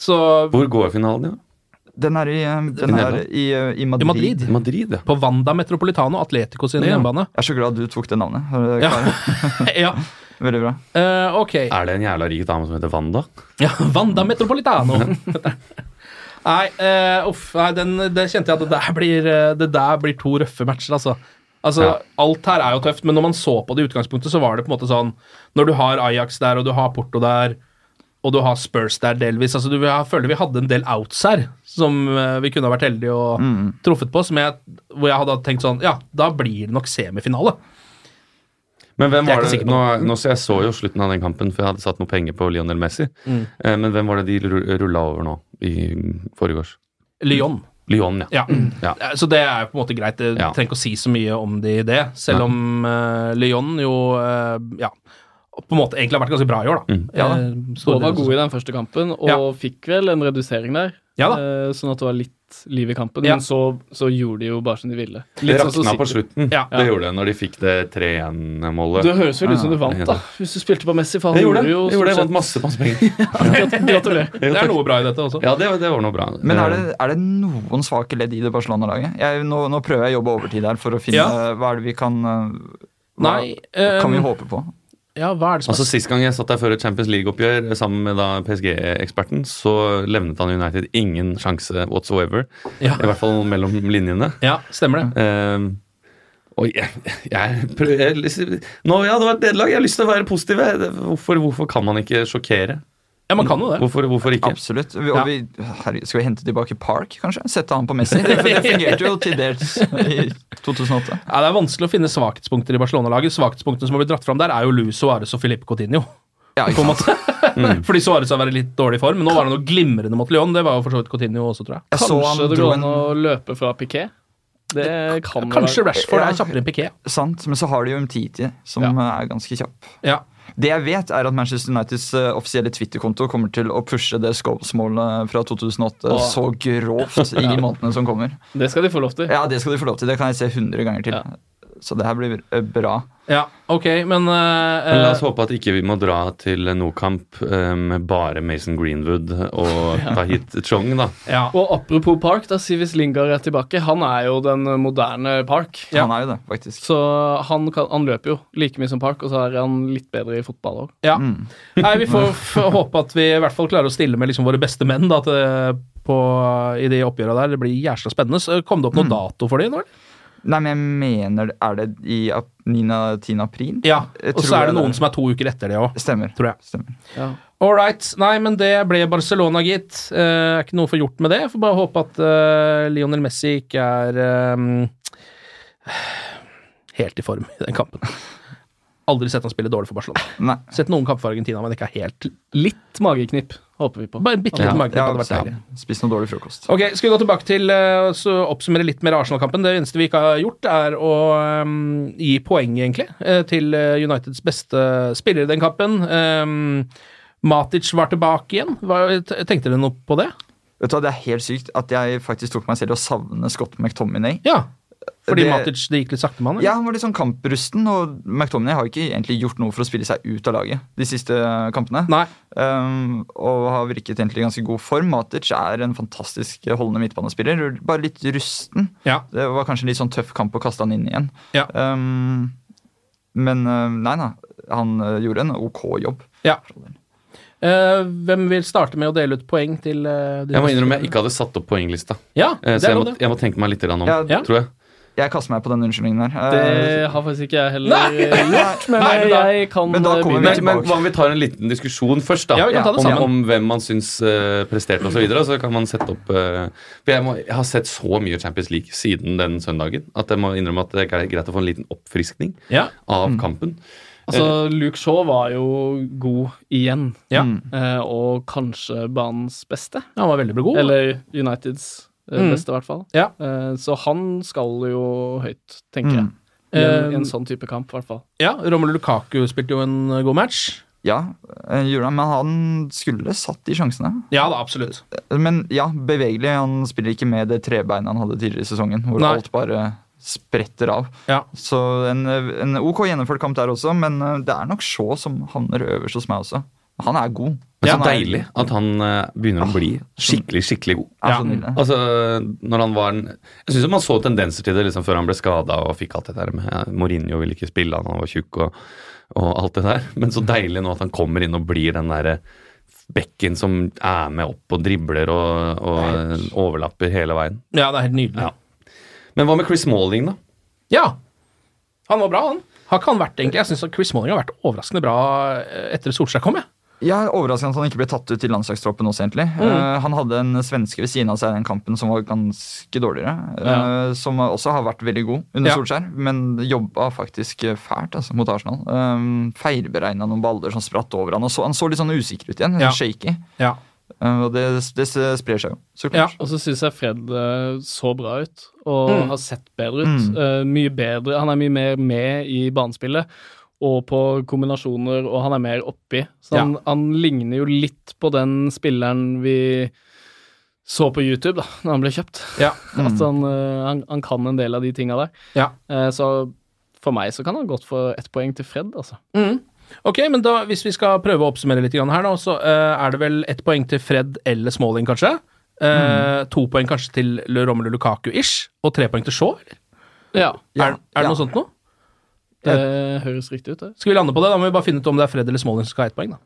Speaker 3: Så
Speaker 6: Hvor går finalen, ja?
Speaker 5: Den er i, eh, den er
Speaker 6: Nederland?
Speaker 5: i, eh, i
Speaker 3: I
Speaker 5: Madrid.
Speaker 3: Madrid.
Speaker 6: Madrid ja.
Speaker 3: På Wanda Metropolitano, Atletico sin
Speaker 5: Ja.
Speaker 3: hjemmebane.
Speaker 5: Jeg er så glad du tok det navnet. Er du
Speaker 3: Ja.
Speaker 5: klar?
Speaker 3: ja.
Speaker 5: Veldig bra.
Speaker 3: Eh, ok.
Speaker 6: Er det en jævla rik dame som heter Wanda?
Speaker 3: Ja, Wanda Metropolitano. nei, eh, uff, nei den, det kjente jeg at det der blir, eh, det der blir to røffe matcher, altså. Altså,
Speaker 6: Ja.
Speaker 3: Alt her er jo tøft, men når man så på det i utgangspunktet, så var det på en måte sånn Når du har Ajax der, og du har Porto der, og du har Spurs der delvis altså du, Jeg føler vi hadde en del outs her som eh, vi kunne ha vært heldige og truffet på, som jeg, hvor jeg hadde tenkt sånn Ja, da blir det nok semifinale.
Speaker 6: Men hvem
Speaker 3: Det er
Speaker 6: var
Speaker 3: jeg
Speaker 6: det,
Speaker 3: ikke sikker
Speaker 6: nå,
Speaker 3: på.
Speaker 6: nå så Jeg så jo slutten av den kampen, for jeg hadde satt noe penger på Lionel Messi.
Speaker 3: Mm.
Speaker 6: Eh, Men hvem var det de rulla over nå i forgårs?
Speaker 3: Lyon.
Speaker 6: Lyon, ja.
Speaker 3: Ja. Eh, Så det er jo på en måte greit. Jeg
Speaker 6: Ja.
Speaker 3: trenger ikke å si så mye om det i det, selv
Speaker 6: Nei.
Speaker 3: om eh, Lyon jo eh, ja, på en måte egentlig har vært ganske bra i år, da.
Speaker 6: Mm.
Speaker 4: Ja, da.
Speaker 3: Eh,
Speaker 4: Og
Speaker 3: store
Speaker 4: var
Speaker 3: deler.
Speaker 4: god i den første kampen, og
Speaker 3: Ja.
Speaker 4: fikk vel en redusering der.
Speaker 3: Ja da.
Speaker 4: eh, Sånn at det var litt liv i kampen.
Speaker 3: Ja.
Speaker 4: Men så, så gjorde de jo bare som de ville.
Speaker 6: Det
Speaker 4: sånn som
Speaker 6: rakna på
Speaker 4: City.
Speaker 6: slutten.
Speaker 3: Ja.
Speaker 6: Det gjorde det når de fikk det 3-1-målet.
Speaker 4: Det høres vel ut som du vant, da. Hvis du spilte på Messi, for han
Speaker 6: Jeg gjorde det.
Speaker 4: jo
Speaker 6: Jeg gjorde det. Jeg
Speaker 4: stort
Speaker 6: vant masse, masse penger.
Speaker 4: sett Gratulerer.
Speaker 3: Det er noe bra i dette også.
Speaker 6: Ja, det, det var noe bra. Eh,
Speaker 5: Men er det, er det noen svake ledd i det Barcelona-laget? Jeg- Nå, nå prøver jeg å jobbe overtid her for å finne
Speaker 3: Ja.
Speaker 5: eh, hva er det vi kan eh, hva
Speaker 3: Nei,
Speaker 5: kan vi
Speaker 4: eh,
Speaker 3: ehm,
Speaker 5: håpe på?
Speaker 3: Ja, hva er det som
Speaker 6: Altså
Speaker 3: er
Speaker 6: Sist gang jeg satt der før et Champions League-oppgjør sammen med da PSG-eksperten, så levnet han United ingen sjanse whatsoever.
Speaker 3: Ja.
Speaker 6: I hvert fall mellom linjene.
Speaker 3: Ja, stemmer det.
Speaker 6: Ehm, og jeg, jeg, prøver, jeg liksom- Nå, ja, det var et nederlag. Jeg har lyst til å være positiv. jeg. Det- Hvorfor, hvorfor kan man ikke sjokkere?
Speaker 3: Ja, man kan jo det.
Speaker 6: Hvorfor, hvorfor ikke?
Speaker 5: Absolutt. Vi,
Speaker 3: Ja.
Speaker 5: og vi, herregud, skal vi hente tilbake Park, kanskje? Sette han på Messi? Det, det fungerte jo til dels i 2008.
Speaker 3: Ja, det er vanskelig å finne svakhetspunkter i Barcelona-laget. Svakhetspunktene som har blitt dratt fram der, er jo Lu Suárez og Filipe Coutinho.
Speaker 5: Ja,
Speaker 3: På
Speaker 5: ikke
Speaker 3: en
Speaker 5: sant?
Speaker 3: måte.
Speaker 4: Mm.
Speaker 3: Fordi Suárez har vært i litt dårlig form. Nå var han jo glimrende mot Lyon. Det var jo for så vidt Coutinho også, tror jeg.
Speaker 5: Jeg så han
Speaker 4: Kanskje det
Speaker 5: dro
Speaker 4: går
Speaker 5: en
Speaker 4: an å løpe fra Piquet? Det kan jo
Speaker 3: Kanskje
Speaker 4: være.
Speaker 3: Rashford
Speaker 5: Ja.
Speaker 3: er kjappere enn Piquet.
Speaker 5: Sant, men så har de jo Umtiti, som eh, er ganske kjapp.
Speaker 3: Ja.
Speaker 5: Det jeg vet, er at Manchester Uniteds eh, offisielle Twitter-konto kommer til å pushe det Scopes-målet fra 2008
Speaker 4: Åh.
Speaker 5: så grovt i månedene som kommer.
Speaker 4: Det skal de få lov til.
Speaker 5: Ja, det skal de få lov til. Det kan jeg se 100 ganger til. Så det her blir eh, bra.
Speaker 3: ja, ok, men eh,
Speaker 6: Men la oss håpe at ikke vi må dra til Nokamp eh, med bare Mason Greenwood og Tahit Chong, da.
Speaker 3: eh, ja.
Speaker 4: Og apropos Park, da Sivis Lingard er tilbake. Han er jo den moderne Park.
Speaker 5: Han er jo det, faktisk.
Speaker 4: Så han, kan, han løper jo like mye som Park, og så er han litt bedre i fotball òg.
Speaker 3: Ja.
Speaker 5: Mm.
Speaker 3: Nei, vi får f håpe at vi i hvert fall klarer å stille med liksom våre beste menn da, til, på, i de oppgjørene der. Det blir jævla spennende. Så kom det opp noen dato for det? Når?
Speaker 5: Nei, men jeg mener Er det i 9.-10. april?
Speaker 3: Ja.
Speaker 5: Jeg
Speaker 3: Og
Speaker 5: tror
Speaker 3: så er det
Speaker 5: det er
Speaker 3: noen
Speaker 5: det.
Speaker 3: som er to uker etter det òg,
Speaker 5: Stemmer.
Speaker 3: tror jeg.
Speaker 5: Stemmer.
Speaker 3: All right. Nei, men det ble Barcelona, gitt. Eh, er ikke noe for gjort med det. Får bare håpe at eh, Lionel Messi ikke er eh, helt i form i den kampen. Aldri sett han spille dårlig for Barcelona. Sett noen kamper for Argentina, men ikke helt
Speaker 4: Litt mageknipp håper vi på.
Speaker 3: Bare en bitte liten
Speaker 4: Ja.
Speaker 3: mageknipp
Speaker 4: Ja,
Speaker 3: hadde vært
Speaker 4: ja.
Speaker 3: deilig.
Speaker 5: altså, Spist noe dårlig frokost.
Speaker 3: Ok, Skal vi gå tilbake til eh, så oppsummere litt mer Arsenal-kampen. Det eneste vi ikke har gjort, er å ehm, gi poeng, egentlig, eh, til eh, Uniteds beste spiller i den kampen. Ehm, Matic var tilbake igjen. Hva, t- tenkte dere noe på det?
Speaker 5: Vet du hva, Det er helt sykt at jeg faktisk tok meg selv i å savne Scott McTominay.
Speaker 3: Ja, fordi
Speaker 5: det,
Speaker 3: Matic det gikk litt sakte med han? eller?
Speaker 5: Ja, han var litt sånn kamprusten, og McTominay har ikke egentlig gjort noe for å spille seg ut av laget de siste kampene.
Speaker 3: Nei.
Speaker 5: Um, og har virket egentlig i ganske god form. Matic er en fantastisk holdende midtbanespiller, bare litt rusten. Det var kanskje en litt sånn tøff kamp å kaste han inn igjen. Um, men uh, nei da, han uh, gjorde en ok jobb.
Speaker 3: Ja. Eh, hvem vil starte med å dele ut poeng til eh, de
Speaker 6: Jeg må
Speaker 3: neste
Speaker 6: innrømme jeg
Speaker 3: spillerne?
Speaker 6: ikke hadde satt opp poenglista.
Speaker 3: Ja,
Speaker 6: Eh,
Speaker 3: det
Speaker 6: så
Speaker 3: er
Speaker 6: jeg
Speaker 3: lov,
Speaker 6: må,
Speaker 3: det.
Speaker 6: jeg må tenke meg litt grann om,
Speaker 5: Ja, Ja.
Speaker 6: tror jeg.
Speaker 5: Jeg kaster meg på den unnskyldningen Eh, der.
Speaker 4: Det har faktisk ikke jeg heller
Speaker 3: Nei!
Speaker 4: eh, gjort, men
Speaker 3: Nei, men da-
Speaker 4: jeg kan
Speaker 5: men da
Speaker 4: eh,
Speaker 5: kommer
Speaker 4: begynne.
Speaker 5: vi
Speaker 6: Men, men hva om vi tar en liten diskusjon først, da?
Speaker 3: Ja, vi kan ta det
Speaker 6: om,
Speaker 3: sammen.
Speaker 6: om hvem man syns eh, presterte osv. Så, videre, så kan man sette opp eh, For jeg, må, jeg har sett så mye Champions League siden den søndagen at jeg må innrømme at det er greit å få en liten oppfriskning
Speaker 3: Ja.
Speaker 6: av kampen.
Speaker 3: Eh,
Speaker 4: Altså, Luke Shaw var jo god igjen,
Speaker 3: Ja.
Speaker 4: eh, og kanskje banens beste.
Speaker 3: Ja, han var veldig god.
Speaker 4: Eller Uniteds eh,
Speaker 3: Mm.
Speaker 4: beste, i hvert fall.
Speaker 3: Ja.
Speaker 4: Eh, så han skal jo høyt, tenker jeg.
Speaker 3: Mm.
Speaker 4: I en, i
Speaker 3: Eh,
Speaker 4: en sånn type kamp, i hvert fall.
Speaker 3: Ja, Romelu Lukaku spilte jo en eh, god match.
Speaker 5: Ja, eh, gjorde han, men han skulle satt de sjansene.
Speaker 3: Ja da, absolutt.
Speaker 5: Men ja, bevegelig. Han spiller ikke med det trebeinet han hadde tidligere i sesongen, hvor
Speaker 3: Nei.
Speaker 5: alt bare spretter av. Så en, en OK gjennomført kamp der også, men eh, det er nok Shaw som havner øverst hos meg også. Han er god.
Speaker 6: Det er
Speaker 5: Han
Speaker 6: så
Speaker 5: er-
Speaker 6: deilig at han eh, begynner å bli skikkelig skikkelig god.
Speaker 5: Ja, så nydelig.
Speaker 6: Altså, når han var en, Jeg syns man så tendenser til det liksom, før han ble skada og fikk alt det der med eh, Mourinho ville ikke spille, han var tjukk og, og alt det der. Men så deilig nå at han kommer inn og blir den derre bekken som er med opp og dribler og, og overlapper hele veien.
Speaker 3: Ja, det er helt nydelig.
Speaker 6: Men hva med Chris Malling, da?
Speaker 3: Ja! Han var bra, han. Har ikke han vært, egentlig? Jeg syns Chris Malling har vært overraskende bra eh, etter Solskjær kom, jeg.
Speaker 5: Jeg er overrasket at han ikke ble tatt ut til landslagstroppen også, egentlig.
Speaker 3: Mm.
Speaker 5: Eh, han hadde en svenske ved siden av seg i den kampen som var ganske dårligere. eh,
Speaker 3: Ja.
Speaker 5: som også har vært veldig god under
Speaker 3: Ja.
Speaker 5: Solskjær, men jobba faktisk fælt altså, mot Arsenal. Um, Feilberegna noen baller som spratt over han, og så, han så litt sånn usikker ut igjen.
Speaker 3: Ja.
Speaker 5: Shaky.
Speaker 3: Ja.
Speaker 5: Eh, og det, det sprer seg jo, så klart.
Speaker 4: Ja. Og så syns jeg Fred eh, så bra ut, og
Speaker 5: Mm.
Speaker 4: har sett bedre ut.
Speaker 5: Mm.
Speaker 4: Eh, mye bedre. Han er mye mer med i banespillet og på kombinasjoner, og han er mer oppi. Så han,
Speaker 3: Ja.
Speaker 4: han ligner jo litt på den spilleren vi så på YouTube da når han ble kjøpt.
Speaker 3: Ja.
Speaker 4: At han, eh, han, han kan en del av de tinga der.
Speaker 3: Ja.
Speaker 4: Eh, så for meg så kan han godt få ett poeng til Fred, altså.
Speaker 3: Ok, men da, hvis vi skal prøve å oppsummere litt grann her nå, så eh, er det vel ett poeng til Fred eller Smalling, kanskje. Eh,
Speaker 4: Mm.
Speaker 3: To poeng kanskje til Romelu Lukaku-ish, og tre poeng til Shaw, eller?
Speaker 4: Ja.
Speaker 3: Er, er det noe sånt noe? Eh,
Speaker 4: Det høres riktig ut, det.
Speaker 3: Skal vi lande på det? Da må vi bare finne ut om det er Fred eller Smalling som skal ha ett poeng, da.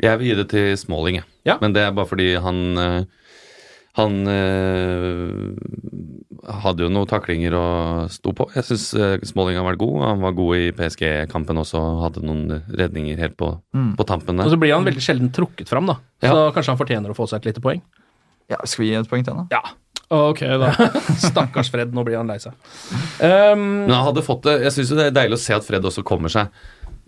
Speaker 6: Jeg vil gi det til Smalling, jeg. Men det er bare fordi han eh, Han eh, hadde jo noen taklinger å stå på. Jeg syns Smalling har vært god. Han var god i PSG-kampen også, hadde noen redninger helt på,
Speaker 3: Mm.
Speaker 6: på tampen
Speaker 3: Og
Speaker 6: der.
Speaker 3: så blir han veldig sjelden trukket fram, da. Så
Speaker 6: Ja.
Speaker 3: kanskje han fortjener å få seg et lite poeng.
Speaker 5: Ja, skal vi gi et poeng til han,
Speaker 3: da?
Speaker 4: Ok, da.
Speaker 3: Stakkars Fred, nå blir han lei seg. Um,
Speaker 6: Men han hadde fått det Jeg syns jo det er deilig å se at Fred også kommer seg.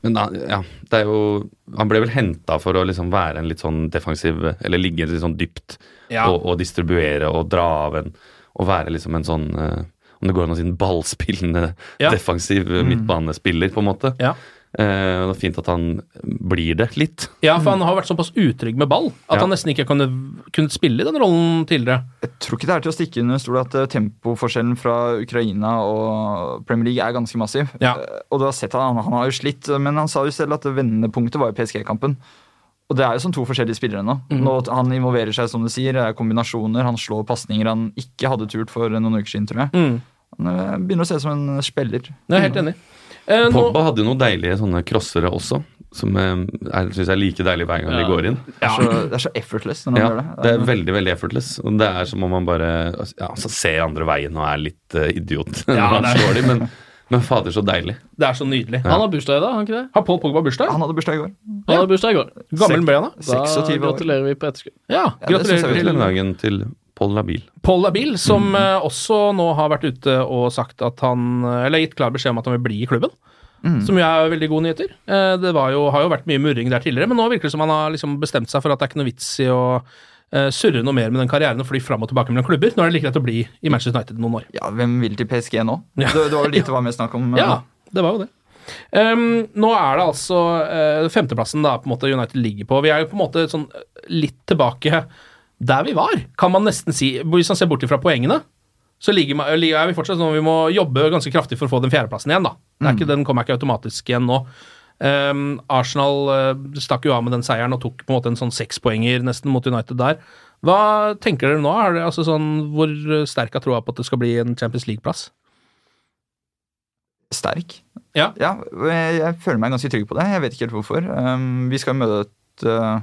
Speaker 6: Men da, ja, det er jo Han ble vel henta for å liksom være en litt sånn defensiv Eller ligge litt sånn dypt
Speaker 3: Ja.
Speaker 6: og, og distribuere og dra av en Og være liksom en sånn eh, Om det går an å si en ballspillende
Speaker 3: Ja. Mm.
Speaker 6: defensiv midtbanespiller, på en måte.
Speaker 3: Ja.
Speaker 6: Eh, og det er fint at han blir det litt.
Speaker 3: Ja, for han har vært såpass utrygg med ball at
Speaker 6: Ja.
Speaker 3: han nesten ikke kunne, kunne spille den rollen tidligere.
Speaker 5: tror ikke det er til å stikke under stol at eh, tempoforskjellen fra Ukraina og Premier League er ganske massiv. Eh, Og du har sett han, han har jo slitt, men han sa jo selv at vendepunktet var i PSG-kampen. Og det er jo som to forskjellige spillere nå.
Speaker 3: Mhm.
Speaker 5: nå. Han involverer seg, som du sier, det er kombinasjoner, han slår pasninger han ikke hadde turt for noen uker siden, tror jeg. Han eh, begynner å se ut som en spiller.
Speaker 3: Mhm. Jeg er helt enig. Eh, nå,
Speaker 6: Pogba hadde jo noen deilige sånne crossere også, som jeg syns er like deilig hver gang de
Speaker 5: Ja.
Speaker 6: går inn.
Speaker 5: Det er så, det er så effortless når han
Speaker 6: Ja,
Speaker 5: gjør det.
Speaker 6: det er veldig veldig effortless. Og det er som om man bare ja, altså, ser andre veien og er litt eh, idiot når
Speaker 3: Ja,
Speaker 6: han
Speaker 3: det er-
Speaker 6: slår dem, men, men fader, så deilig.
Speaker 3: det er så nydelig.
Speaker 6: Ja. Han
Speaker 4: har bursdag i dag, har han ikke det?
Speaker 3: Har Paul Pogba bursdag?
Speaker 5: Han hadde bursdag i går.
Speaker 4: Han hadde bursdag i går.
Speaker 3: Hvor gammel ble han da?
Speaker 4: Da
Speaker 3: 26 år.
Speaker 4: gratulerer vi på etterskudd.
Speaker 3: Ja, gratulerer
Speaker 6: til
Speaker 3: til
Speaker 6: den dagen til Paul Labil.
Speaker 3: Paul Labil, eh, som eh, også nå har vært ute og sagt at han Eller gitt klar beskjed om at han vil bli i klubben.
Speaker 5: Mm.
Speaker 3: som jo er veldig gode nyheter. Eh, Det var jo, har jo vært mye murring der tidligere, men nå virker det som han har liksom bestemt seg for at det er ikke noe vits i å eh, surre noe mer med den karrieren og fly fram og tilbake mellom klubber. Nå er det like greit å bli i Manchester United noen år.
Speaker 5: Ja, Hvem vil til PSG nå? Det, det var jo dit det var mest snakk om. eh,
Speaker 3: Ja, det var jo det. Ehm, nå er det altså eh, femteplassen da, på en måte United ligger på. Vi er jo på en måte sånn litt tilbake der vi var, kan man nesten si. Hvis man ser bort fra poengene, så ligger, ma- ligger- er vi fortsatt sånn at vi må jobbe ganske kraftig for å få den fjerdeplassen igjen. da. Det er ikke,
Speaker 6: Mm.
Speaker 3: Den kommer ikke automatisk igjen nå. Ehm, Arsenal eh, stakk jo av med den seieren og tok på en måte en sånn sekspoenger nesten mot United der. Hva tenker dere nå? Er det, altså sånn, hvor sterk er troa på at det skal bli en Champions League-plass?
Speaker 5: Sterk.
Speaker 3: Ja.
Speaker 5: jeg, jeg føler meg ganske trygg på det. Jeg vet ikke helt hvorfor. Um, vi skal møte uh,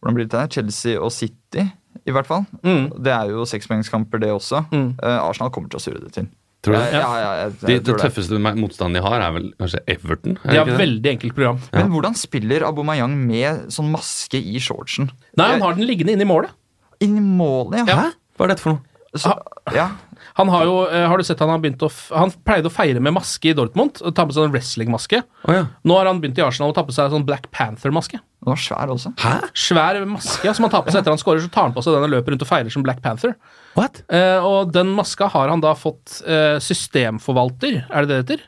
Speaker 5: hvordan blir det der? Chelsea og City, i hvert fall.
Speaker 3: Mm.
Speaker 5: Det er jo sekspoengskamper, det også. Uh, Arsenal kommer til å surre det til. Eh,
Speaker 6: Tror du det?
Speaker 5: Ja, ja, ja, jeg, jeg,
Speaker 6: Eh, de, det
Speaker 5: tror det.
Speaker 6: tøffeste me- motstanden de har, er vel kanskje Everton? er
Speaker 3: De har
Speaker 6: ikke det?
Speaker 3: veldig enkelt program.
Speaker 5: Men hvordan spiller Abomayang med sånn maske i shortsen?
Speaker 3: Nei, han har den liggende inne i målet.
Speaker 5: Inni målet, ja. Hæ?
Speaker 6: Hva er dette for noe?
Speaker 3: Han har jo, eh, har du sett han har begynt å f Han pleide å feire med maske i Dortmund. Og ta på seg en wrestlingmaske. Nå har han begynt i Arsenal å ta på seg en sånn Black Panther-maske.
Speaker 5: Den var svær også.
Speaker 6: Hæ?
Speaker 3: Svær maske ja, som han tar på seg etter han scorer. Så tar han på seg den og løper rundt og feirer som Black Panther.
Speaker 6: What?
Speaker 3: Eh, og den maska har han da fått eh, systemforvalter, er det det heter?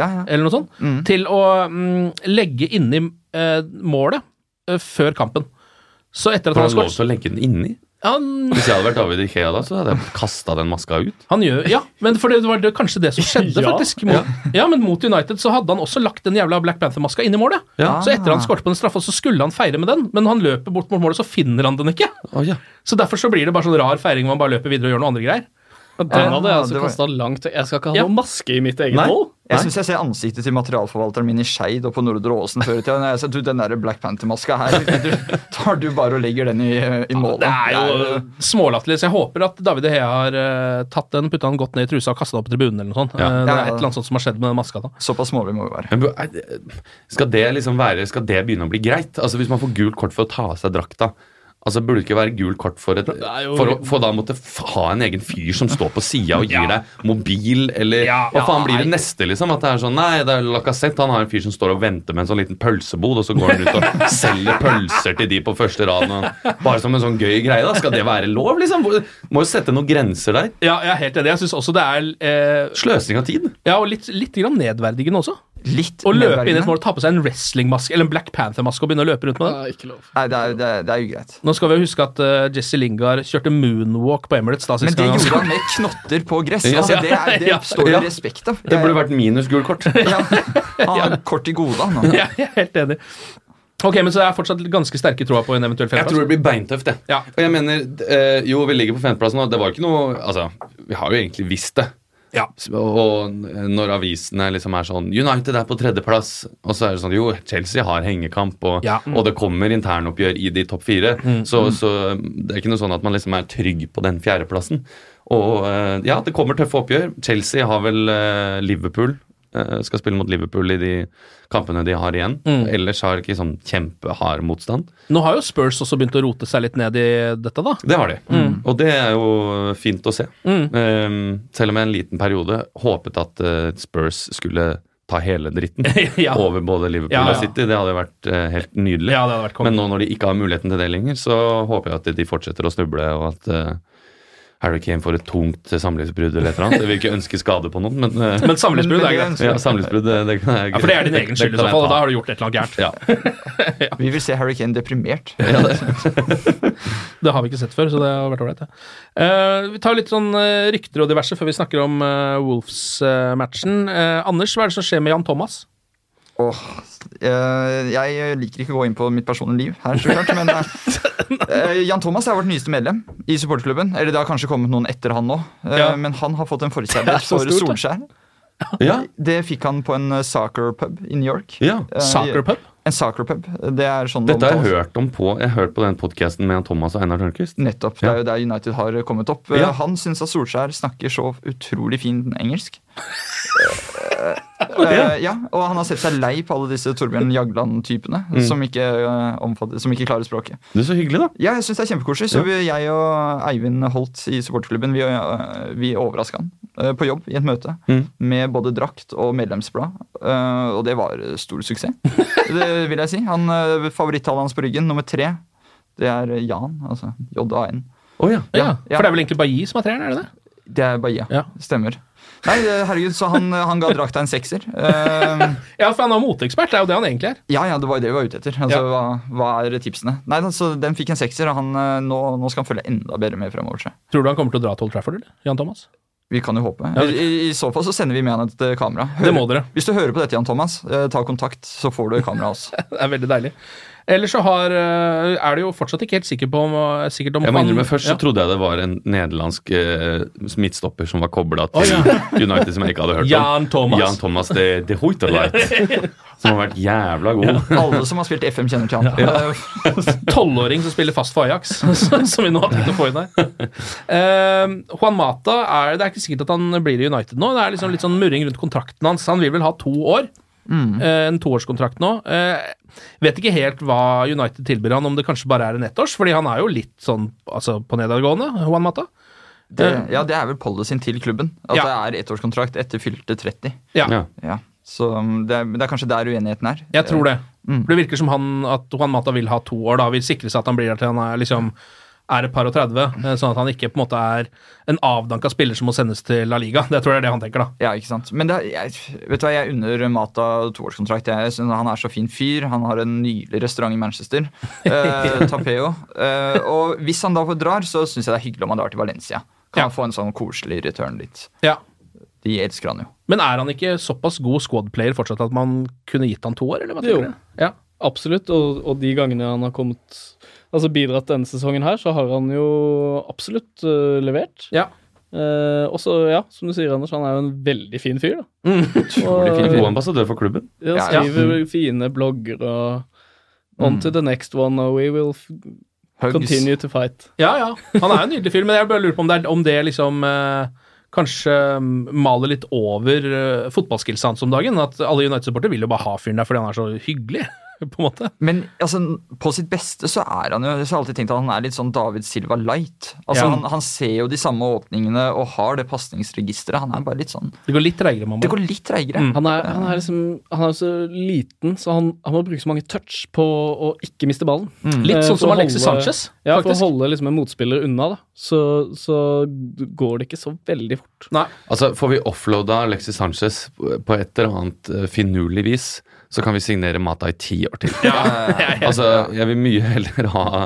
Speaker 6: Ja.
Speaker 3: Eller noe sånt. Til å mm, legge inni eh, målet eh, før kampen. Så etter at
Speaker 6: Får
Speaker 3: han
Speaker 6: han
Speaker 3: har
Speaker 6: lov
Speaker 3: skåret
Speaker 6: til å legge den inni?
Speaker 3: han,
Speaker 6: Hvis jeg hadde vært David Ikea da, så hadde jeg kasta den maska ut.
Speaker 3: Han gjør, ja, men for det var det, kanskje det som skjedde,
Speaker 6: Ja.
Speaker 3: faktisk. Mot, ja. men mot United så hadde han også lagt den jævla Black Panther-maska inn i målet.
Speaker 6: Ja.
Speaker 3: Så etter han skåret på den straffa, så skulle han feire med den, men han løper bort mot målet, så finner han den ikke. Så derfor så blir det bare sånn rar feiring hvor han bare løper videre og gjør noen andre greier.
Speaker 4: Den hadde jeg altså kastet
Speaker 3: langt. Jeg skal ikke
Speaker 4: ha noe maske i mitt eget
Speaker 5: Nei.
Speaker 4: mål.
Speaker 5: Jeg syns jeg ser ansiktet til materialforvalteren min i Skeid og på Nordre Åsen før i tida. Når jeg ser, Du, den der Black Panther-maska her, du, tar du bare og legger den i, i målet?
Speaker 3: Det er jo smålatterlig, så jeg håper at David Hea har eh, tatt den, putta den godt ned i trusa og kasta den opp i tribunen eller noe sånt.
Speaker 6: Ja.
Speaker 3: Eh, det er
Speaker 6: Ja, ja,
Speaker 3: et
Speaker 6: ja.
Speaker 3: eller annet sånt som har skjedd med den maska da.
Speaker 5: Såpass smålig må vi være.
Speaker 6: Men bu- er det- Skal det liksom være, skal det begynne å bli greit? Altså Hvis man får gult kort for å ta av seg drakta Altså Burde det ikke være gult kort for, et,
Speaker 3: jo-
Speaker 6: for å for da måtte f ha en egen fyr som står på sida og gir
Speaker 3: Ja.
Speaker 6: deg mobil, eller
Speaker 3: Ja,
Speaker 6: hva
Speaker 3: ja,
Speaker 6: faen blir det
Speaker 3: nei.
Speaker 6: neste? liksom At det er sånn Nei, det er Lacassette. Han har en fyr som står og venter med en sånn liten pølsebod, og så går han ut og selger pølser til de på første raden. og- Bare som en sånn gøy greie. da Skal det være lov, liksom? Hvor- Må jo sette noen grenser der.
Speaker 3: Ja, jeg er helt enig. Jeg syns også det er eh,
Speaker 6: Sløsing av tid.
Speaker 3: Ja, og litt, litt grann nedverdigende også.
Speaker 5: Litt
Speaker 3: Å løpe inn i
Speaker 5: nedverdigende.
Speaker 3: et mål og ta på seg en wrestlingmaske eller en Black Panther-maske og begynne å løpe rundt med den.
Speaker 5: Nei, det er, det er, det er ugreit.
Speaker 3: Nå skal vi jo huske at eh, Jesse Lingard kjørte moonwalk på Emirates da
Speaker 5: Men
Speaker 3: sist
Speaker 5: det
Speaker 3: gang.
Speaker 5: gjorde han med knotter på gress.
Speaker 3: Ja.
Speaker 5: Altså, det, er, det
Speaker 3: Ja.
Speaker 5: står det
Speaker 3: Ja.
Speaker 5: respekt av.
Speaker 6: Det burde vært minus gult kort.
Speaker 5: Han har kort i gode, han. nå.
Speaker 3: Ja, jeg er helt enig. Ok, men så det er fortsatt ganske sterke troa på en eventuell
Speaker 6: Jeg
Speaker 3: femteplass?
Speaker 6: tror det blir beintøft, jeg. Og jeg mener, eh, jo, vi ligger på femteplassen, og det var jo ikke noe Altså, vi har jo egentlig visst det. S- Og når avisene liksom er sånn United er på tredjeplass, og så er det sånn Jo, Chelsea har hengekamp, og,
Speaker 3: Ja.
Speaker 6: og det kommer internoppgjør i de topp fire.
Speaker 3: Mm.
Speaker 6: Så,
Speaker 3: Mm.
Speaker 6: så det er ikke noe sånn at man liksom er trygg på den fjerdeplassen. Og eh, ja, det kommer tøffe oppgjør. Chelsea har vel eh, Liverpool. eh, Skal spille mot Liverpool i de kampene de har igjen.
Speaker 3: Mm.
Speaker 6: Ellers har de ikke sånn kjempehard motstand.
Speaker 3: Nå har jo Spurs også begynt å rote seg litt ned i dette, da.
Speaker 6: Det har de. Og det er jo fint å se.
Speaker 3: Mm.
Speaker 6: Ehm, selv om jeg en liten periode håpet at eh, Spurs skulle ta hele dritten
Speaker 3: Ja.
Speaker 6: over både Liverpool
Speaker 3: Ja, ja.
Speaker 6: og City. Det hadde vært eh, helt nydelig.
Speaker 3: Ja, det hadde vært konge.
Speaker 6: Men nå når de ikke har muligheten til det lenger, så håper jeg at de fortsetter å snuble, og at eh, Harry Kane får et tungt samlivsbrudd eller et eller annet. Jeg vil ikke ønske skade på noen, men eh,
Speaker 3: Men samlivsbrudd er greit.
Speaker 6: Ja, samlivsbrudd, det, det kan jeg
Speaker 3: Ja, for det er din egen skyld i så fall, og da har du gjort et eller annet gærent.
Speaker 6: Ja.
Speaker 5: Vi vil se Harry Kane deprimert.
Speaker 3: Det har vi ikke sett før, så det har vært ålreit. det. Eh, vi tar litt sånn eh, rykter og diverse før vi snakker om eh, Wolves-matchen. Eh, Anders, hva er det som skjer med Jan Thomas?
Speaker 5: Åh, eh, jeg liker ikke å gå inn på mitt personlige liv her, så klart, men eh, eh, Jan Thomas er vårt nyeste medlem i supporterklubben. Eller det har kanskje kommet noen etter han nå, eh,
Speaker 3: Ja.
Speaker 5: men han har fått en
Speaker 3: Det er
Speaker 5: forkjærlighet
Speaker 3: så
Speaker 5: for
Speaker 3: stort, da.
Speaker 5: Solskjær. Det fikk han på en eh, soccer pub i New York.
Speaker 6: Ja.
Speaker 5: Eh,
Speaker 6: Soccer pub?
Speaker 5: En soccer pub. Det er sånn det
Speaker 6: Dette har jeg
Speaker 5: omtales.
Speaker 6: hørt om på Jeg har hørt på den podkasten med Thomas og Einar Tørnquist.
Speaker 5: Nettopp. Det er jo der United har kommet opp.
Speaker 6: Ja.
Speaker 5: Han syns at Solskjær snakker så utrolig fin engelsk. Eh, Eh, ja, og han har sett seg lei på alle disse Torbjørn Jagland-typene
Speaker 6: Mm.
Speaker 5: som, ikke, eh, omfatter- som ikke klarer språket.
Speaker 6: Du, så hyggelig, da.
Speaker 5: Ja, jeg syns det er kjempekoselig. Så
Speaker 6: Ja.
Speaker 5: vi, jeg og Eivind Holt i supporterklubben vi, eh, vi overraska han eh, på jobb i et møte
Speaker 6: Mm.
Speaker 5: med både drakt og medlemsblad. eh, Og det var eh, stor suksess, det vil jeg si. Han, eh, Favorittallet hans på ryggen, nummer tre, det er eh, Jan. Altså J-A-N.
Speaker 3: Oh, ja. For det er vel egentlig Bailly som er treeren, er det det?
Speaker 5: Det er Bahia. Stemmer. Nei, eh, herregud, så han, han ga drakta en sekser. Ehm,
Speaker 3: ja, for han er moteekspert. Det er jo det han egentlig er.
Speaker 5: Ja, ja, det var jo det vi var ute etter. Altså,
Speaker 3: Ja.
Speaker 5: hva, hva er tipsene? Nei, altså, Den fikk en sekser, og han, eh, nå, nå skal han følge enda bedre med fremover. Seg.
Speaker 3: Tror du han kommer til å dra til Old Trafford, eller? Jan Thomas?
Speaker 5: Vi kan jo håpe.
Speaker 3: Ja, vi-
Speaker 5: I, I så fall så sender vi med han et eh, kamera.
Speaker 3: Det må dere.
Speaker 5: Hvis du hører på dette, Jan Thomas, eh, ta kontakt, så får du kamera av oss.
Speaker 3: Det er veldig deilig. Ellers så har, eh, er du jo fortsatt ikke helt sikker på om, sikkert om
Speaker 6: Jeg må
Speaker 3: han-
Speaker 6: innrømme, Først så
Speaker 3: Ja.
Speaker 6: trodde jeg det var en nederlandsk eh, midtstopper som var kobla til
Speaker 3: Å, ja.
Speaker 6: United, som jeg ikke hadde hørt
Speaker 3: Jan
Speaker 6: om.
Speaker 3: Thomas.
Speaker 6: Jan Thomas de, de Hoiterleit, som har vært jævla god.
Speaker 5: Alle som har spilt FM, kjenner til han. Eh,
Speaker 6: Ja.
Speaker 3: Tolvåring som spiller fast for Ajax, som vi nå har tenkt å få inn her. Eh, Juan Mata er, Det er ikke sikkert at han blir i United nå. Det er liksom litt sånn murring rundt kontrakten hans. Han vil vel ha to år.
Speaker 5: Mm.
Speaker 3: Eh, en toårskontrakt nå. Eh, vet ikke helt hva United tilbyr han, om det kanskje bare er en ettårs, fordi han er jo litt sånn altså, på nedadgående, Juan Mata.
Speaker 5: Det,
Speaker 3: Eh,
Speaker 5: ja, det er vel policyen til klubben. At det er ettårskontrakt etter fylte 30.
Speaker 3: Ja. Ja.
Speaker 5: Så um, det er, men det er kanskje der uenigheten er.
Speaker 3: Jeg tror det.
Speaker 4: Eh,
Speaker 5: Mm.
Speaker 3: For Det virker som han, at Juan Mata vil ha to år, da. Vil sikre seg at han blir der til han er liksom er et par og 30, eh, sånn at han ikke på en måte er en avdanka spiller som må sendes til La Liga. Det tror jeg er det han tenker, da.
Speaker 5: Ja, ikke sant. Men det, er- jeg, vet du hva, jeg unner Mata toårskontrakt. Jeg synes Han er så fin fyr. Han har en nydelig restaurant i Manchester. Eh, Tapeo. Eh, og hvis han da får drar, så syns jeg det er hyggelig om han drar til Valencia. Kan han få en sånn koselig return dit.
Speaker 3: Ja.
Speaker 5: De elsker han jo.
Speaker 3: Men er han ikke såpass god squadplayer fortsatt at man kunne gitt han to år, eller hva
Speaker 4: Jo,
Speaker 3: tenker du? Ja.
Speaker 4: absolutt. Og, og de gangene han har kommet Altså bidratt denne sesongen her, så har han jo absolutt øh, levert.
Speaker 3: Ja.
Speaker 4: Eh, og så, ja, som du sier, Anders, han er jo en veldig fin fyr, da.
Speaker 6: Utrolig fin. God ambassadør for klubben.
Speaker 4: Ja,
Speaker 6: Ja, ja.
Speaker 4: skriver fine blogger og On
Speaker 3: Mm.
Speaker 4: to the next one, and we will f
Speaker 3: Hugs.
Speaker 4: continue to fight.
Speaker 3: Ja, ja. Han er jo en nydelig fyr, men jeg bare lurer på om det, er, om det liksom eh, kanskje mm, maler litt over eh, fotballskillsa hans om dagen. At alle United-supportere vil jo bare ha fyren der fordi han er så hyggelig, på en måte.
Speaker 5: Men altså, på sitt beste så er han jo Jeg har alltid tenkt at han er litt sånn David Silva light. Altså,
Speaker 3: Ja.
Speaker 5: han, han ser jo de samme åpningene og har det pasningsregisteret. Han er bare litt sånn
Speaker 3: Det går litt treigere, mamma.
Speaker 5: Det går litt treigere.
Speaker 3: Mm.
Speaker 4: Han, er, han er liksom Han er jo så liten, så han, han må bruke så mange touch på å ikke miste ballen.
Speaker 3: Mm. Litt
Speaker 4: Eh,
Speaker 3: sånn
Speaker 4: for
Speaker 3: som
Speaker 4: å
Speaker 3: Alexis Sanchez,
Speaker 4: Ja,
Speaker 3: faktisk.
Speaker 4: for å holde liksom en motspiller unna, da. Så, så går det ikke så veldig fort.
Speaker 6: Altså, Får vi offloada Alexis Sanchez på et eller annet eh, finurlig vis, så kan vi signere Mata i ti år til. altså, Jeg vil mye heller ha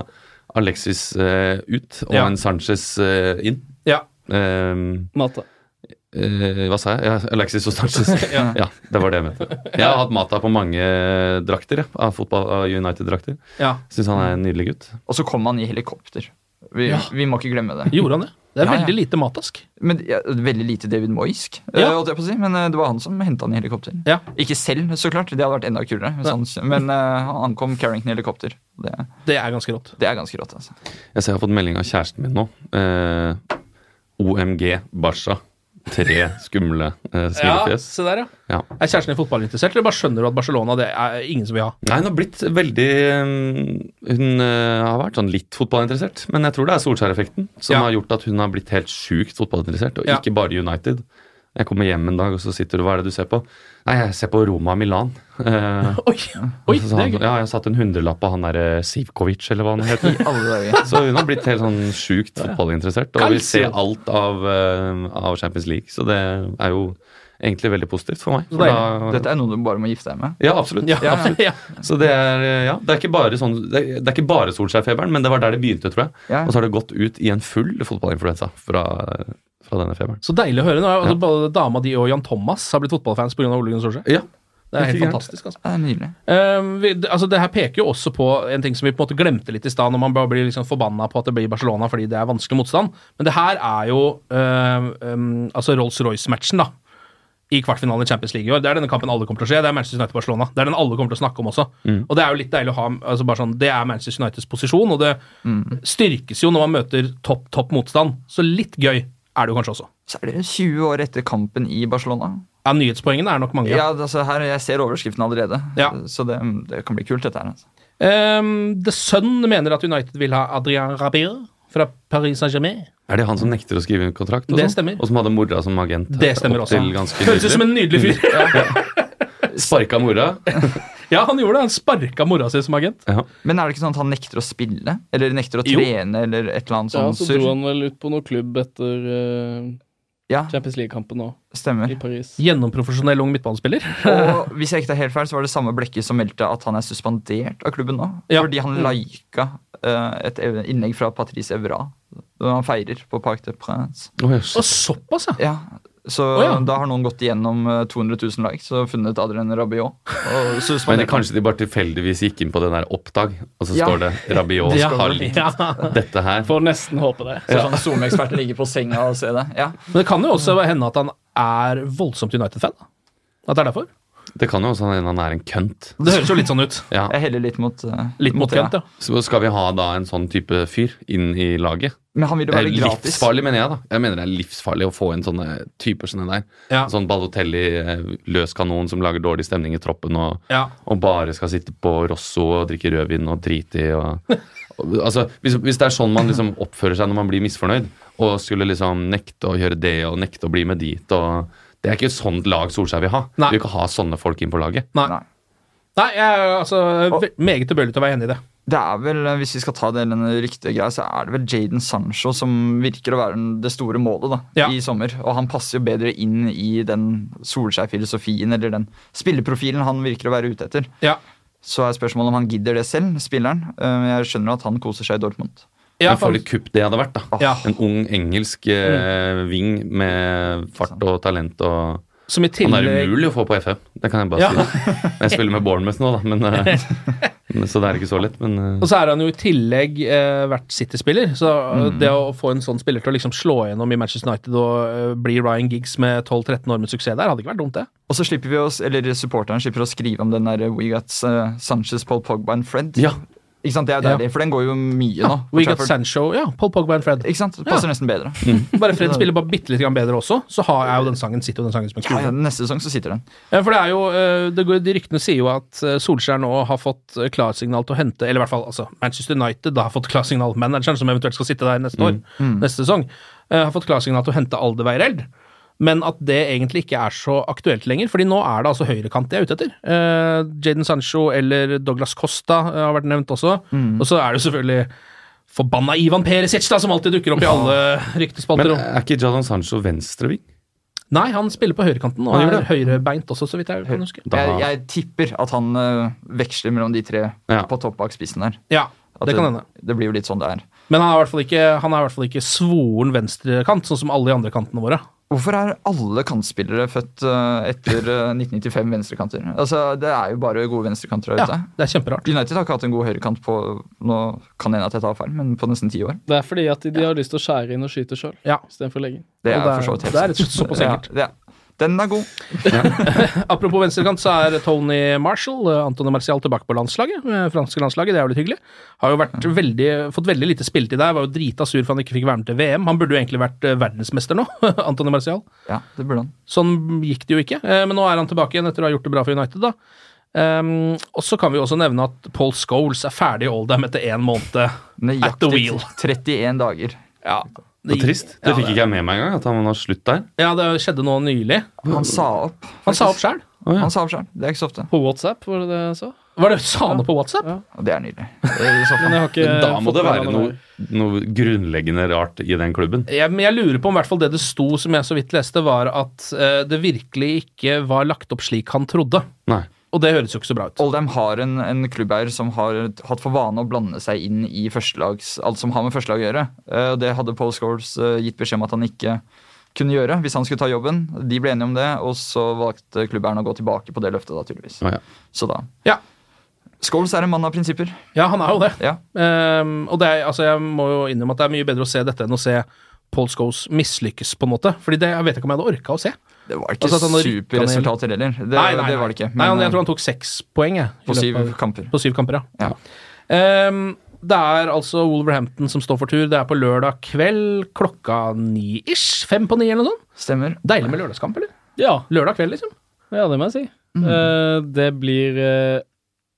Speaker 6: Alexis eh, ut og
Speaker 4: Ja.
Speaker 6: en Sanchez eh, inn.
Speaker 3: Ja.
Speaker 6: Ehm,
Speaker 4: Mata.
Speaker 6: eh, hva sa jeg? Ja, Alexis og Sanchez.
Speaker 3: Ja.
Speaker 6: ja. det var det jeg mente. Jeg har hatt Mata på mange drakter. jeg, Av fotball- av United-drakter.
Speaker 3: Ja.
Speaker 6: Syns han er en nydelig gutt.
Speaker 5: Og så kom han i helikopter. Vi,
Speaker 6: Ja.
Speaker 5: vi må ikke glemme det.
Speaker 3: Gjorde han det? Det er
Speaker 5: Ja, ja.
Speaker 3: veldig lite matask.
Speaker 5: Men, ja, veldig lite David Moysk, eh,
Speaker 3: Ja.
Speaker 5: holdt jeg på å si. Men eh, det var han som henta han i helikopter. Ikke selv, så klart. Det hadde vært enda kulere. Hvis han, men eh, han ankom Carrington i helikopter. Det,
Speaker 3: Det er ganske rått.
Speaker 5: det er ganske rått, altså.
Speaker 6: Jeg ser jeg har fått melding av kjæresten min nå. Eh, OMG Barca. Tre skumle eh,
Speaker 3: Ja,
Speaker 6: smilefjes.
Speaker 3: se der, ja.
Speaker 6: Ja.
Speaker 3: Er kjæresten din fotballinteressert, eller bare skjønner du at Barcelona det er ingen som vil ha?
Speaker 6: Nei, hun har blitt veldig eh, Hun eh, har vært sånn litt fotballinteressert, men jeg tror det er Solskjær-effekten som
Speaker 3: Ja.
Speaker 6: har gjort at hun har blitt helt sjukt fotballinteressert, og
Speaker 3: Ja.
Speaker 6: ikke bare United. Jeg kommer hjem en dag, og så sitter du Hva er det du ser på? Nei, jeg ser på Roma og Milan. Eh,
Speaker 3: Oi,
Speaker 6: så sa
Speaker 3: det er
Speaker 6: han,
Speaker 3: gøy.
Speaker 6: ja, jeg satte en hundrelapp på han der eh, Sivkovic, eller hva han heter.
Speaker 5: alle
Speaker 6: så hun har blitt helt sånn sjukt fotballinteressert, og vil se
Speaker 3: Calcio.
Speaker 6: alt av, eh, av Champions League. Så det er jo egentlig veldig positivt for meg.
Speaker 5: Så
Speaker 6: For
Speaker 5: deilig.
Speaker 6: da-
Speaker 5: Dette er noe du bare må gifte deg med.
Speaker 6: ja, absolutt.
Speaker 5: Ja,
Speaker 6: Ja, absolutt. Så det er, eh, ja, det er ikke bare, sånn, det er, det er ikke bare Solskjær-feberen, men det var der det begynte, tror jeg.
Speaker 5: Ja.
Speaker 6: Og så har det gått ut i en full fotballinfluensa fra, fra denne feberen.
Speaker 3: Så deilig å høre. Nå er jo altså Både dama di og Jan Thomas har blitt fotballfans pga. Ole Gunnar Solskjær.
Speaker 6: Ja.
Speaker 3: Det er
Speaker 6: Ikke
Speaker 3: helt
Speaker 6: gærent.
Speaker 3: fantastisk. altså.
Speaker 5: Det er nydelig.
Speaker 3: Ehm, vi, det- altså det her peker jo også på en ting som vi på en måte glemte litt i stad, når man bare blir liksom forbanna på at det blir Barcelona fordi det er vanskelig motstand. Men det her er jo ehm, ehm, altså Rolls-Royce-matchen da i kvartfinalen i Champions League i år. Det er denne kampen alle kommer til å se. Det er Manchester United-Barcelona. Det er den alle kommer til å snakke om også.
Speaker 6: Mm.
Speaker 3: Og det er jo litt deilig å ha altså bare sånn, Det er Manchester Uniteds posisjon, og det styrkes jo når man møter topp, topp motstand. Så litt gøy er det jo kanskje også.
Speaker 5: Så er det 20 år etter kampen i Barcelona.
Speaker 3: Ja, Nyhetspoengene er nok mange.
Speaker 5: Ja, altså her, Jeg ser overskriften allerede, så det, det kan bli kult, dette her. Altså.
Speaker 3: Ehm, The Sun mener at United vil ha Adrian Rabier fra Paris Saint-Germain.
Speaker 6: Er det han som nekter å skrive en kontrakt?
Speaker 3: Det
Speaker 6: sånn?
Speaker 3: stemmer.
Speaker 6: Og som hadde mora som agent?
Speaker 3: Det stemmer
Speaker 6: opp
Speaker 3: også.
Speaker 6: til ganske Mm.
Speaker 3: Høres ut som en nydelig fyr.
Speaker 6: Sparka mora.
Speaker 3: Ja, han gjorde det. Han sparka mora si som agent.
Speaker 5: Men er det ikke sånn at han nekter å spille? Eller nekter å
Speaker 3: Jo.
Speaker 5: trene, eller et eller annet
Speaker 4: Ja,
Speaker 5: sånn
Speaker 4: så
Speaker 5: surr?
Speaker 4: dro han vel ut på noen klubb etter eh, Champions League-kampen nå.
Speaker 5: Stemmer.
Speaker 4: I Paris.
Speaker 3: Gjennomprofesjonell ung midtbanespiller.
Speaker 5: Og hvis jeg ikke tar helt feil, så var det samme Blekke som meldte at han er suspendert av klubben nå. Fordi han
Speaker 3: Mm.
Speaker 5: lika eh, et ev- innlegg fra Patrice Evra når han feirer på Parc des Princes.
Speaker 3: Og såpass,
Speaker 5: ja. Så
Speaker 3: Å, ja.
Speaker 5: da har noen gått igjennom eh, 200 000 likes og funnet Adrian Rabiot. Og
Speaker 6: Men
Speaker 5: suspendert
Speaker 6: det, kanskje de bare tilfeldigvis gikk inn på den der oppdag, og så
Speaker 5: Ja.
Speaker 6: står det Rabiot
Speaker 5: Ja.
Speaker 6: har likt
Speaker 5: Ja.
Speaker 6: dette her.
Speaker 4: Får nesten håpe det.
Speaker 5: Så sånn SoMe-ekspert ligger på senga og ser det. Ja.
Speaker 3: Men det kan jo også hende at han er voldsomt United-fan. da. At det er derfor.
Speaker 6: Det kan jo også hende han er en kønt.
Speaker 3: Det høres jo litt sånn ut.
Speaker 6: Ja.
Speaker 5: Jeg heller litt mot eh,
Speaker 3: Litt mot
Speaker 5: det,
Speaker 3: kønt, ja.
Speaker 6: Så skal vi ha da en sånn type fyr inn i laget?
Speaker 5: Men han vil jo
Speaker 6: Det er
Speaker 5: være gratis.
Speaker 6: Eh, livsfarlig, mener jeg. da Jeg mener det er livsfarlig å få inn sånne typer som den der. En Sånn Balotelli, eh, løs kanon som lager dårlig stemning i troppen, og,
Speaker 3: Ja.
Speaker 6: og bare skal sitte på Rosso og drikke rødvin og drite i og, og Altså, hvis, hvis det er sånn man liksom oppfører seg når man blir misfornøyd, og skulle liksom nekte å gjøre det og nekte å bli med dit og Det er ikke et sånt lag Solskjær vil ha.
Speaker 3: Nei.
Speaker 6: Vi vil ikke ha sånne folk inn på laget.
Speaker 3: Nei. Nei, jeg er altså ve- meget tilbøyelig til å være enig i det.
Speaker 5: Det er vel, eh, Hvis vi skal ta det den riktige greia, så er det vel Jaden Sancho som virker å være den- det store målet da, i sommer. Og han passer jo bedre inn i den Solskjær-filosofien eller den spilleprofilen han virker å være ute etter. Så er spørsmålet om han gidder det selv, spilleren. Eh, Jeg skjønner at han koser seg i Dortmund.
Speaker 6: Men for et kupp det hadde vært, da. En ung engelsk eh, ving med fart og talent og
Speaker 3: Som i
Speaker 6: Han
Speaker 3: tillegg-
Speaker 6: er umulig å få på FM, det kan jeg bare
Speaker 3: Ja.
Speaker 6: si. Jeg spiller med Bournemouth nå, da, men, eh, men, så det er ikke så lett. Men eh,
Speaker 3: Og så er han jo i tillegg eh, vært City-spiller, så eh,
Speaker 6: Mm.
Speaker 3: det å få en sånn spiller til å liksom slå gjennom i Manchester United og eh, bli Ryan Giggs med 12-13 år med suksess der, hadde ikke vært dumt, det.
Speaker 5: Og så slipper vi oss, eller supporteren slipper å skrive om den der We Got eh, Sanchez, Paul Pogba and Fred. Ikke sant, Det er jo
Speaker 3: Ja.
Speaker 5: deilig, for den går jo mye nå.
Speaker 3: Ah, We
Speaker 5: For
Speaker 3: got
Speaker 5: Trafford.
Speaker 3: Sancho, ja, Paul Pogba and Fred.
Speaker 5: Ikke sant, Det passer
Speaker 3: Ja. Mm.
Speaker 5: nesten bedre.
Speaker 3: Bare Fred spiller bare bitte litt grann bedre også, så har jeg jo den sangen sitter jo den sangen som en
Speaker 5: Ja,
Speaker 3: kule.
Speaker 5: ja, neste sesong så sitter den.
Speaker 3: Ja, for det er jo, eh, det går, De ryktene sier jo at eh, Solskjær nå har fått eh, klarsignal til å hente Eller i hvert fall altså, Manchester United da har fått klarsignal, manageren som eventuelt skal sitte der neste år,
Speaker 5: Mm.
Speaker 3: neste sesong, eh, har fått klarsignal til å hente Alderweireld. Men at det egentlig ikke er så aktuelt lenger, fordi nå er det altså høyrekant de er ute etter. Eh, Jadon Sancho eller Douglas Costa eh, har vært nevnt også.
Speaker 6: Mm.
Speaker 3: Og så er det jo selvfølgelig forbanna Ivan Perisic, da, som alltid dukker opp i alle ryktespalter.
Speaker 6: men
Speaker 5: eh,
Speaker 3: og-
Speaker 6: er ikke Jadon Sancho venstreving?
Speaker 3: Nei, han spiller på høyrekanten og
Speaker 5: Han
Speaker 3: er
Speaker 5: gjør
Speaker 3: høyrebeint også, så vidt jeg kan huske.
Speaker 5: Jeg, jeg tipper at han eh, veksler mellom de tre på topp bak spissen der.
Speaker 3: Ja,
Speaker 5: At
Speaker 3: det kan hende.
Speaker 5: Det blir jo litt sånn det er.
Speaker 3: Men han er i hvert fall ikke, han er i hvert fall ikke svoren venstrekant, sånn som alle de andre kantene våre.
Speaker 5: Hvorfor er alle kantspillere født eh, etter eh, 1995 venstrekanter? Altså, Det er jo bare gode venstrekanter der ute.
Speaker 3: det er kjemperart.
Speaker 5: United har ikke hatt en god høyrekant på nå kan det hende at jeg tar feil, men på nesten ti år.
Speaker 4: Det er fordi at de, de har lyst til å skjære inn og skyte sjøl istedenfor å legge inn.
Speaker 5: Det er,
Speaker 4: Og
Speaker 5: for så vidt helt
Speaker 3: det er rett og
Speaker 5: sant.
Speaker 3: slett såpass enkelt.
Speaker 5: Ja, det er. Den er god.
Speaker 3: Apropos venstrekant, så er Tony Marshall, eh, Anthony Martial, tilbake på landslaget. eh, franske landslaget, det er jo litt hyggelig. Har jo vært veldig, fått veldig lite spilletid der. Var jo drita sur for han ikke fikk være med til VM. Han burde jo egentlig vært eh, verdensmester nå, Anthony Martial.
Speaker 5: Ja, det burde han.
Speaker 3: Sånn gikk det jo ikke. Eh, Men nå er han tilbake igjen etter å ha gjort det bra for United, da. Um, og så kan vi også nevne at Paul Scholes er ferdig i Oldham etter én måned at the
Speaker 5: Nøyaktig
Speaker 3: wheel.
Speaker 5: 31 dager.
Speaker 3: Ja,
Speaker 6: Det var trist. Det fikk ikke jeg med meg engang, at han har slutt der.
Speaker 3: Ja, det skjedde nå nylig.
Speaker 5: Han sa opp.
Speaker 3: Han sa opp sjøl.
Speaker 5: Han sa opp selv. Det er ikke så ofte.
Speaker 4: På WhatsApp, var det det jeg sa?
Speaker 3: Var det sa han det på WhatsApp?
Speaker 5: Og Det er nydelig. Det er i så fall-
Speaker 4: Men jeg har ikke
Speaker 6: Men da må
Speaker 4: fått
Speaker 6: det
Speaker 4: med
Speaker 6: være
Speaker 4: meg
Speaker 6: noe, noe grunnleggende rart i den klubben.
Speaker 3: Jeg, men jeg lurer på om i hvert fall det det sto, som jeg så vidt leste, var at eh, det virkelig ikke var lagt opp slik han trodde.
Speaker 6: Nei.
Speaker 3: Og det høres jo ikke så bra ut.
Speaker 5: Oldham har en, en klubbeier som har hatt for vane å blande seg inn i førstelags, alt som har med førstelag å gjøre. Eh, og Det hadde Paul Scholes eh, gitt beskjed om at han ikke kunne gjøre hvis han skulle ta jobben. De ble enige om det, og så valgte klubbeieren å gå tilbake på det løftet, da, tydeligvis.
Speaker 6: Å, ja.
Speaker 5: Så da.
Speaker 3: Ja.
Speaker 5: Scholes er en mann av prinsipper.
Speaker 3: Ja, han er jo det.
Speaker 5: Ja.
Speaker 3: Ehm, og det er, altså, jeg må jo innrømme at det er mye bedre å se dette enn å se Paul Scholes mislykkes, på en måte. Fordi det jeg vet ikke om jeg hadde orka å se.
Speaker 5: Det var
Speaker 3: Altså,
Speaker 5: ikke
Speaker 3: at han har rykket ned-
Speaker 5: superresultater heller. Det,
Speaker 3: Nei, nei,
Speaker 5: det var
Speaker 3: nei.
Speaker 5: det ikke. eh,
Speaker 3: Nei, han- jeg tror han tok seks poeng, jeg. i
Speaker 5: På syv
Speaker 3: løpet av-
Speaker 5: kamper.
Speaker 3: På syv kamper, ja.
Speaker 5: Ja.
Speaker 3: Ehm, Det er altså Wolverhampton som står for tur. Det er på lørdag kveld klokka ni ish. Fem på ni eller noe sånt.
Speaker 5: Stemmer.
Speaker 3: Deilig med lørdagskamp, eller?
Speaker 4: Ja.
Speaker 3: Lørdag kveld, liksom.
Speaker 4: Ja, det må jeg si. Eh, det blir eh,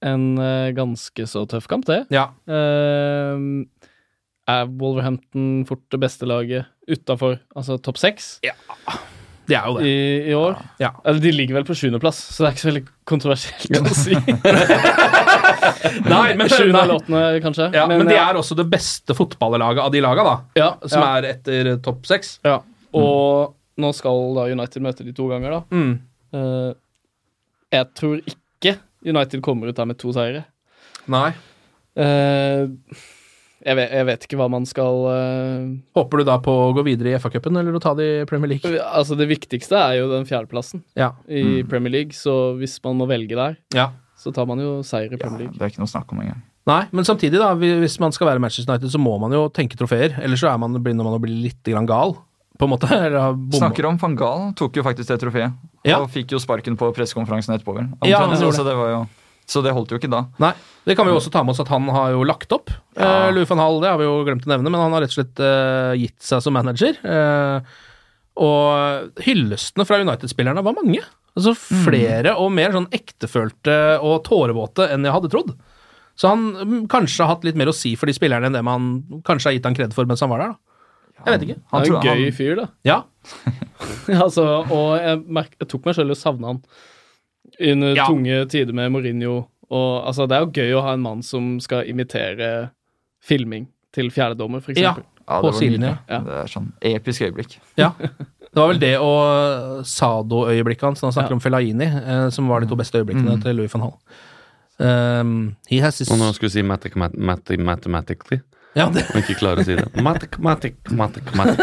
Speaker 4: en eh, ganske så tøff kamp, det.
Speaker 3: Ja.
Speaker 4: Eh, er Wolverhampton fort det beste laget utafor altså topp seks?
Speaker 3: Ja. Det er jo det.
Speaker 4: I, i år?
Speaker 3: Ja.
Speaker 4: Eller de ligger vel på sjuendeplass, så det er ikke så veldig kontroversielt å si.
Speaker 3: Nei, men-
Speaker 4: Sjuende
Speaker 3: nei.
Speaker 4: eller åttende, kanskje.
Speaker 3: Ja, men, de
Speaker 4: ja.
Speaker 3: er også det beste fotballaget av de laga, da. som
Speaker 4: ja.
Speaker 3: er etter topp seks.
Speaker 4: Ja. Og nå skal da United møte de to ganger, da.
Speaker 3: Mm.
Speaker 4: Eh, jeg tror ikke United kommer ut der med to seire.
Speaker 3: Nei.
Speaker 4: Eh, jeg, vet, jeg vet ikke hva man skal eh,
Speaker 3: Håper du da på å gå videre i FA-cupen, eller å ta det i Premier League?
Speaker 4: Altså, det viktigste er jo den fjerdeplassen
Speaker 3: Ja.
Speaker 4: i
Speaker 5: Mm.
Speaker 4: Premier League, så hvis man må velge der,
Speaker 3: Ja.
Speaker 4: så tar man jo seier i Premier League.
Speaker 5: Det er ikke noe snakk om engang.
Speaker 3: Nei, men samtidig, da, vi- hvis man skal være Manchester United, så må man jo tenke trofeer. Ellers så er man, begynner man å bli litt grann gal, på en måte. Eller har bomma.
Speaker 5: Snakker om van Gaal, tok jo faktisk det trofeet.
Speaker 3: Ja.
Speaker 5: Og fikk jo sparken på pressekonferansen etterpå, vel.
Speaker 3: Ja,
Speaker 5: Omtrent,
Speaker 3: han gjorde
Speaker 5: så, det var jo, så det holdt jo ikke da.
Speaker 3: Nei, Det kan vi jo
Speaker 4: Mm.
Speaker 3: også ta med oss at han har jo lagt opp.
Speaker 5: Ja.
Speaker 3: Eh, Louis van Hall, det har vi jo glemt å nevne, men han har rett og slett eh, gitt seg som manager. Eh, og hyllestene fra United-spillerne var mange. Altså
Speaker 4: Mm.
Speaker 3: flere og mer sånn ektefølte og tårevåte enn jeg hadde trodd. Så han mm, kanskje har hatt litt mer å si for de spillerne enn det man kanskje har gitt han kred for mens han var der. da. Jeg vet ikke.
Speaker 5: Han
Speaker 4: Han er
Speaker 5: tror-
Speaker 4: en gøy
Speaker 5: han-
Speaker 4: fyr, da.
Speaker 3: Ja,
Speaker 4: altså, og jeg, merk, jeg tok meg selv i å savne han under
Speaker 3: Ja.
Speaker 4: Eh, tunge tider med Mourinho. Og, altså, det er jo gøy å ha en mann som skal imitere filming til fjerdedommer, for
Speaker 3: ja.
Speaker 4: eksempel.
Speaker 5: Ja,
Speaker 3: På
Speaker 5: det var
Speaker 3: sidelinja.
Speaker 5: nydelig. Det er sånn episk øyeblikk.
Speaker 3: Ja. Det var vel det og Sado-øyeblikket hans, når han snakker om Fellaini, eh, som var de to beste øyeblikkene til Louis van Hall. Um, he has his
Speaker 6: Og når han skulle si matic, mat, mat, mathematically,
Speaker 3: Ja, det-
Speaker 6: og ikke klarer å si det Matic, matic, matic, matic,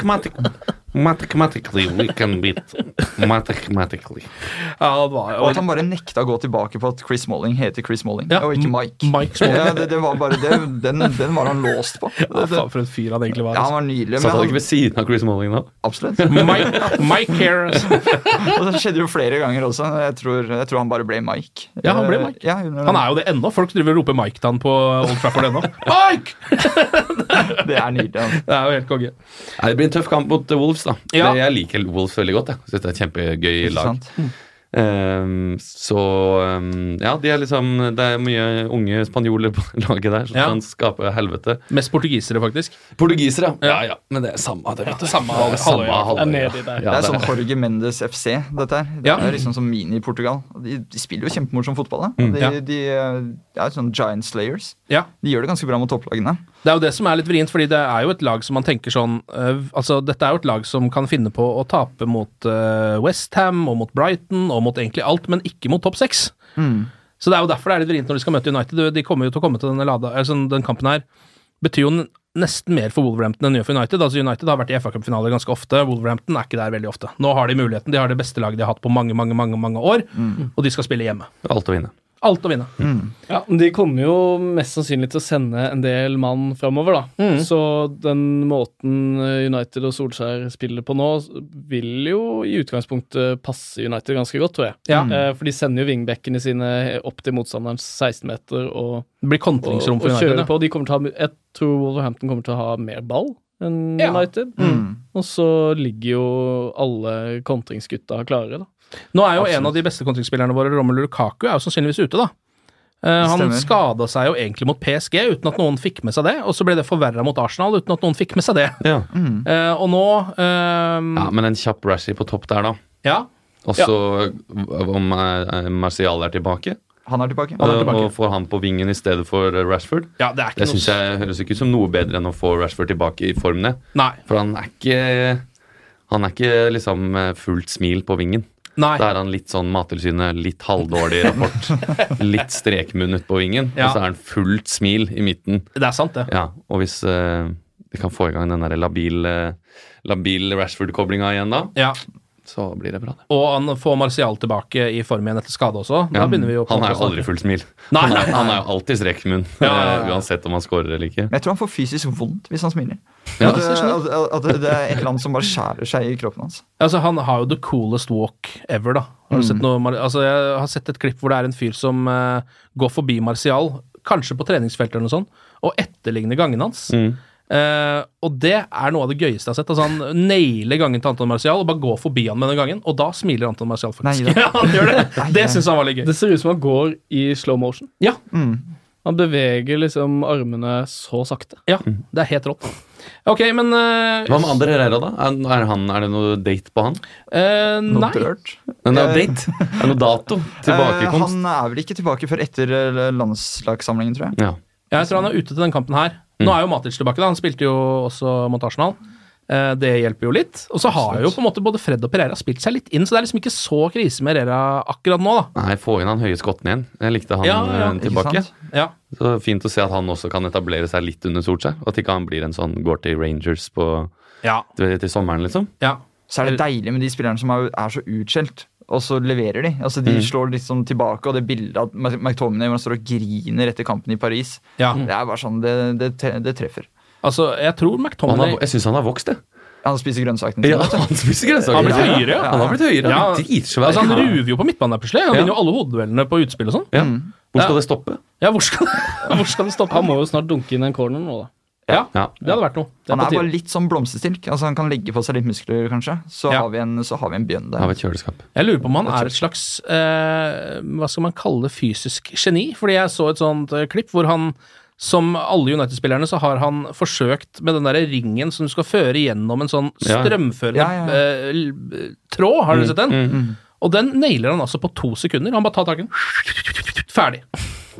Speaker 6: matic, matic. Mathematically, we can beat mathematically.
Speaker 3: Ja, det var
Speaker 5: Og at han bare nekta å gå tilbake på at Chris Molling heter Chris Molling,
Speaker 3: Ja,
Speaker 5: og ikke Mike.
Speaker 3: Mike Smalling.
Speaker 5: Ja, det, det var bare det, den, den var han låst på. Det,
Speaker 3: Ja,
Speaker 5: det,
Speaker 3: faen, for en fyr han egentlig var.
Speaker 5: ja,
Speaker 3: Altså.
Speaker 5: han var nydelig,
Speaker 6: Satt han
Speaker 5: men
Speaker 6: ikke ved siden av Chris Molling nå?
Speaker 5: absolutt.
Speaker 3: Mike, Mike here. altså.
Speaker 5: Og det skjedde jo flere ganger også. Jeg tror, jeg tror han bare ble Mike.
Speaker 3: Ja, han ble Mike.
Speaker 5: Ja, under-
Speaker 3: Han er jo det ennå. Folk driver og roper Mike til han på Old Trafford ennå. Mike!
Speaker 5: Det er nydelig. altså.
Speaker 3: Det er jo helt konge.
Speaker 6: Nei, Det blir en tøff kamp mot eh, Wolves, da.
Speaker 3: Ja.
Speaker 6: Det- Jeg liker Wolves veldig godt. Jeg synes det er et kjempegøy
Speaker 5: Ikke
Speaker 6: lag.
Speaker 5: sant?
Speaker 6: Ehm, så ehm, Ja, de er liksom Det er mye unge spanjoler på laget der som
Speaker 3: Ja.
Speaker 6: kan skape helvete.
Speaker 3: Mest portugisere, faktisk.
Speaker 6: Portugisere, ja. ja, ja. Men det er samme, det, vet du. Samme halvøya. Samme halvøya.
Speaker 4: Er nedi der.
Speaker 5: Det
Speaker 6: Ja,
Speaker 5: er sånn Jorge Mendes FC, dette her. Det
Speaker 3: Ja.
Speaker 5: er liksom som mini-Portugal. De, de spiller jo kjempemorsom fotball. Da. De,
Speaker 3: ja.
Speaker 5: de, eh, de er sånn giant slayers.
Speaker 3: Ja.
Speaker 5: De gjør det ganske bra mot topplagene.
Speaker 3: Det er jo det som er litt vrient, fordi det er jo et lag som man tenker sånn øh, Altså, dette er jo et lag som kan finne på å tape mot øh, West Ham og mot Brighton og mot egentlig alt, men ikke mot topp seks.
Speaker 4: Mm.
Speaker 3: Så det er jo derfor det er litt vrient når de skal møte United. De kommer jo til å komme til denne lada, altså, den kampen her. Betyr jo n- nesten mer for Wolverhampton enn det gjør for United. Altså United har vært i FA-cupfinaler ganske ofte. Wolverhampton er ikke der veldig ofte. Nå har de muligheten. De har det beste laget de har hatt på mange, mange, mange, mange år,
Speaker 4: Mm.
Speaker 3: og de skal spille hjemme.
Speaker 6: Alt å vinne.
Speaker 3: Alt å vinne.
Speaker 4: Ja, men De kommer jo mest sannsynlig til å sende en del mann framover, da. Så den måten eh, United og Solskjær spiller på nå, vil jo i utgangspunktet passe United ganske godt, tror jeg.
Speaker 3: Ja.
Speaker 4: Eh, For de sender jo wingbackene sine opp til motstanderens 16-meter og,
Speaker 3: Det blir
Speaker 4: og,
Speaker 3: kontringsrom
Speaker 4: og
Speaker 3: for United.
Speaker 4: kjører
Speaker 3: ja.
Speaker 4: på. De kommer til å ha, jeg tror Wolverhampton kommer til å ha mer ball enn
Speaker 3: Ja.
Speaker 4: United.
Speaker 5: Mm.
Speaker 4: Og så ligger jo alle kontringsgutta klare, da.
Speaker 3: Nå er jo en av de beste kontringsspillerne våre, Romelu Lukaku, er jo sannsynligvis ute, da. Eh, han
Speaker 5: Stemmer.
Speaker 3: skada seg jo egentlig mot PSG uten at noen fikk med seg det, og så ble det forverra mot Arsenal uten at noen fikk med seg det.
Speaker 6: Ja.
Speaker 3: Eh, og nå eh,
Speaker 5: Mhm.
Speaker 6: ja, Men en kjapp Rashi på topp der, da.
Speaker 3: ja.
Speaker 6: Og så eh, om eh, Martial er tilbake, eh,
Speaker 5: Han er tilbake.
Speaker 3: er tilbake.
Speaker 6: og får han på vingen i stedet for eh, Rashford.
Speaker 3: ja, det er
Speaker 6: Det
Speaker 3: ikke noe
Speaker 6: syns jeg høres ikke ut som noe bedre enn å få Rashford tilbake i form, det.
Speaker 3: Nei.
Speaker 6: For han er ikke Han er ikke liksom eh, fullt smil på vingen.
Speaker 3: Nei.
Speaker 6: Da er han litt sånn Mattilsynet, litt halvdårlig rapport. litt strekmunn ut på vingen,
Speaker 3: Ja.
Speaker 6: og så er han fullt smil i midten.
Speaker 3: Det er sant, det.
Speaker 6: Ja, og hvis eh, de kan få i gang den der labil, eh, labil Rashford-koblinga igjen da,
Speaker 3: Ja.
Speaker 6: så blir det bra, det.
Speaker 3: Og han får Martial tilbake i form igjen etter skade også. Da
Speaker 6: Ja,
Speaker 3: begynner vi jo på
Speaker 6: han er jo aldri fullt smil.
Speaker 3: Nei,
Speaker 6: han,
Speaker 3: nei,
Speaker 6: er, han er jo alltid strekmunn, eh,
Speaker 3: Ja, ja, ja.
Speaker 6: uansett om han scorer eller ikke.
Speaker 5: Men jeg tror han får fysisk vondt hvis han smiler.
Speaker 6: Ja,
Speaker 5: at,
Speaker 6: det skjønner
Speaker 5: at, at det er et eller annet som bare skjærer seg i kroppen hans.
Speaker 3: Altså, han har jo the coolest walk ever, da. Har du sett noe, Mar- altså, jeg har sett et klipp hvor det er en fyr som eh, går forbi Martial, kanskje på treningsfeltet eller noe sånt, og etterligne gangen hans. Eh, og det er noe av det gøyeste jeg har sett. Altså Han nailer gangen til Anton Martial og bare går forbi han med den gangen, og da smiler Anton Martial faktisk.
Speaker 4: Nei,
Speaker 3: ja, han gjør det. Det syns han var litt gøy.
Speaker 4: Det ser ut som han går i slow motion.
Speaker 3: Ja.
Speaker 4: Han beveger liksom armene så sakte.
Speaker 3: Ja, det er helt rått. Ok, men eh,
Speaker 6: Hva med Ander Herrera, da? Er, er, han, er det noe date på han?
Speaker 3: eh, Nei.
Speaker 6: Nei, nei,
Speaker 5: Eh,
Speaker 6: date? Er det noe dato?
Speaker 5: Eh,
Speaker 6: Tilbakekomst?
Speaker 5: Han er vel ikke tilbake før etter eh, landslagssamlingen, tror jeg.
Speaker 6: Ja.
Speaker 3: Ja, jeg tror han er ute til den kampen her. Nå er jo Matic tilbake, da. Han spilte jo også mot Arsenal. Eh, Det hjelper jo litt. Og så har jo på en måte både Fred og Pereira spilt seg litt inn, så det er liksom ikke så krise med Herrera akkurat nå, da.
Speaker 6: Nei, få inn han høye skotten igjen. Jeg likte han
Speaker 3: Ja, ja,
Speaker 6: eh,
Speaker 3: ikke
Speaker 6: tilbake.
Speaker 3: sant? Ja.
Speaker 6: Så Fint å se at han også kan etablere seg litt under Solskjær. Og at ikke han blir en sånn går til Rangers på,
Speaker 3: Ja.
Speaker 6: til, til sommeren, liksom.
Speaker 5: Så er det deilig med de spillerne som er, er så utskjelt, og så leverer de. Altså De
Speaker 6: Mm.
Speaker 5: slår litt sånn tilbake, og det bildet at Mc- McTominay hvor han står og griner etter kampen i Paris,
Speaker 3: Ja.
Speaker 5: det er bare sånn Det, det, tre- det treffer.
Speaker 3: Altså, jeg tror
Speaker 6: Han
Speaker 3: McTominay
Speaker 6: har- Jeg syns han har vokst, jeg.
Speaker 5: Han spiser grønnsakene
Speaker 6: Ja,
Speaker 5: sine, vet du.
Speaker 6: han spiser grønnsaker.
Speaker 3: Han har blitt
Speaker 6: altså. Ja, ja.
Speaker 3: høyere, ja.
Speaker 6: Han har blitt høyere, han er dritsvær.
Speaker 3: Altså, han
Speaker 6: Ja.
Speaker 3: ruver jo på midtbanen der plutselig. Han
Speaker 6: Ja.
Speaker 3: vinner jo alle hodeduellene på utspill og sånn.
Speaker 6: Ja. Hvor skal
Speaker 3: Ja.
Speaker 6: det stoppe?
Speaker 3: Ja, hvor skal, hvor skal det stoppe?
Speaker 4: Han må jo snart dunke inn en corner nå, da.
Speaker 6: Ja.
Speaker 3: Det hadde vært noe. Det er
Speaker 5: Han
Speaker 3: på
Speaker 5: er bare
Speaker 3: tide.
Speaker 5: litt sånn blomsterstilk. Altså Han kan legge på seg litt muskler, kanskje. Så, har, vi en, så har vi en bjønn der.
Speaker 6: Av et kjøleskap.
Speaker 3: Jeg lurer på om han er et slags eh, Hva skal man kalle det? Fysisk geni? Fordi jeg så et sånt eh, klipp hvor han som alle United-spillerne så har han forsøkt med den der ringen som du skal føre gjennom en sånn
Speaker 6: Ja.
Speaker 3: strømførende
Speaker 6: Ja, ja,
Speaker 3: eh,
Speaker 6: ja.
Speaker 3: l- tråd. Har
Speaker 6: Mm,
Speaker 3: dere sett den?
Speaker 6: mm, mm.
Speaker 3: Og den nailer han altså på to sekunder. Han bare tar tak i den. Ferdig.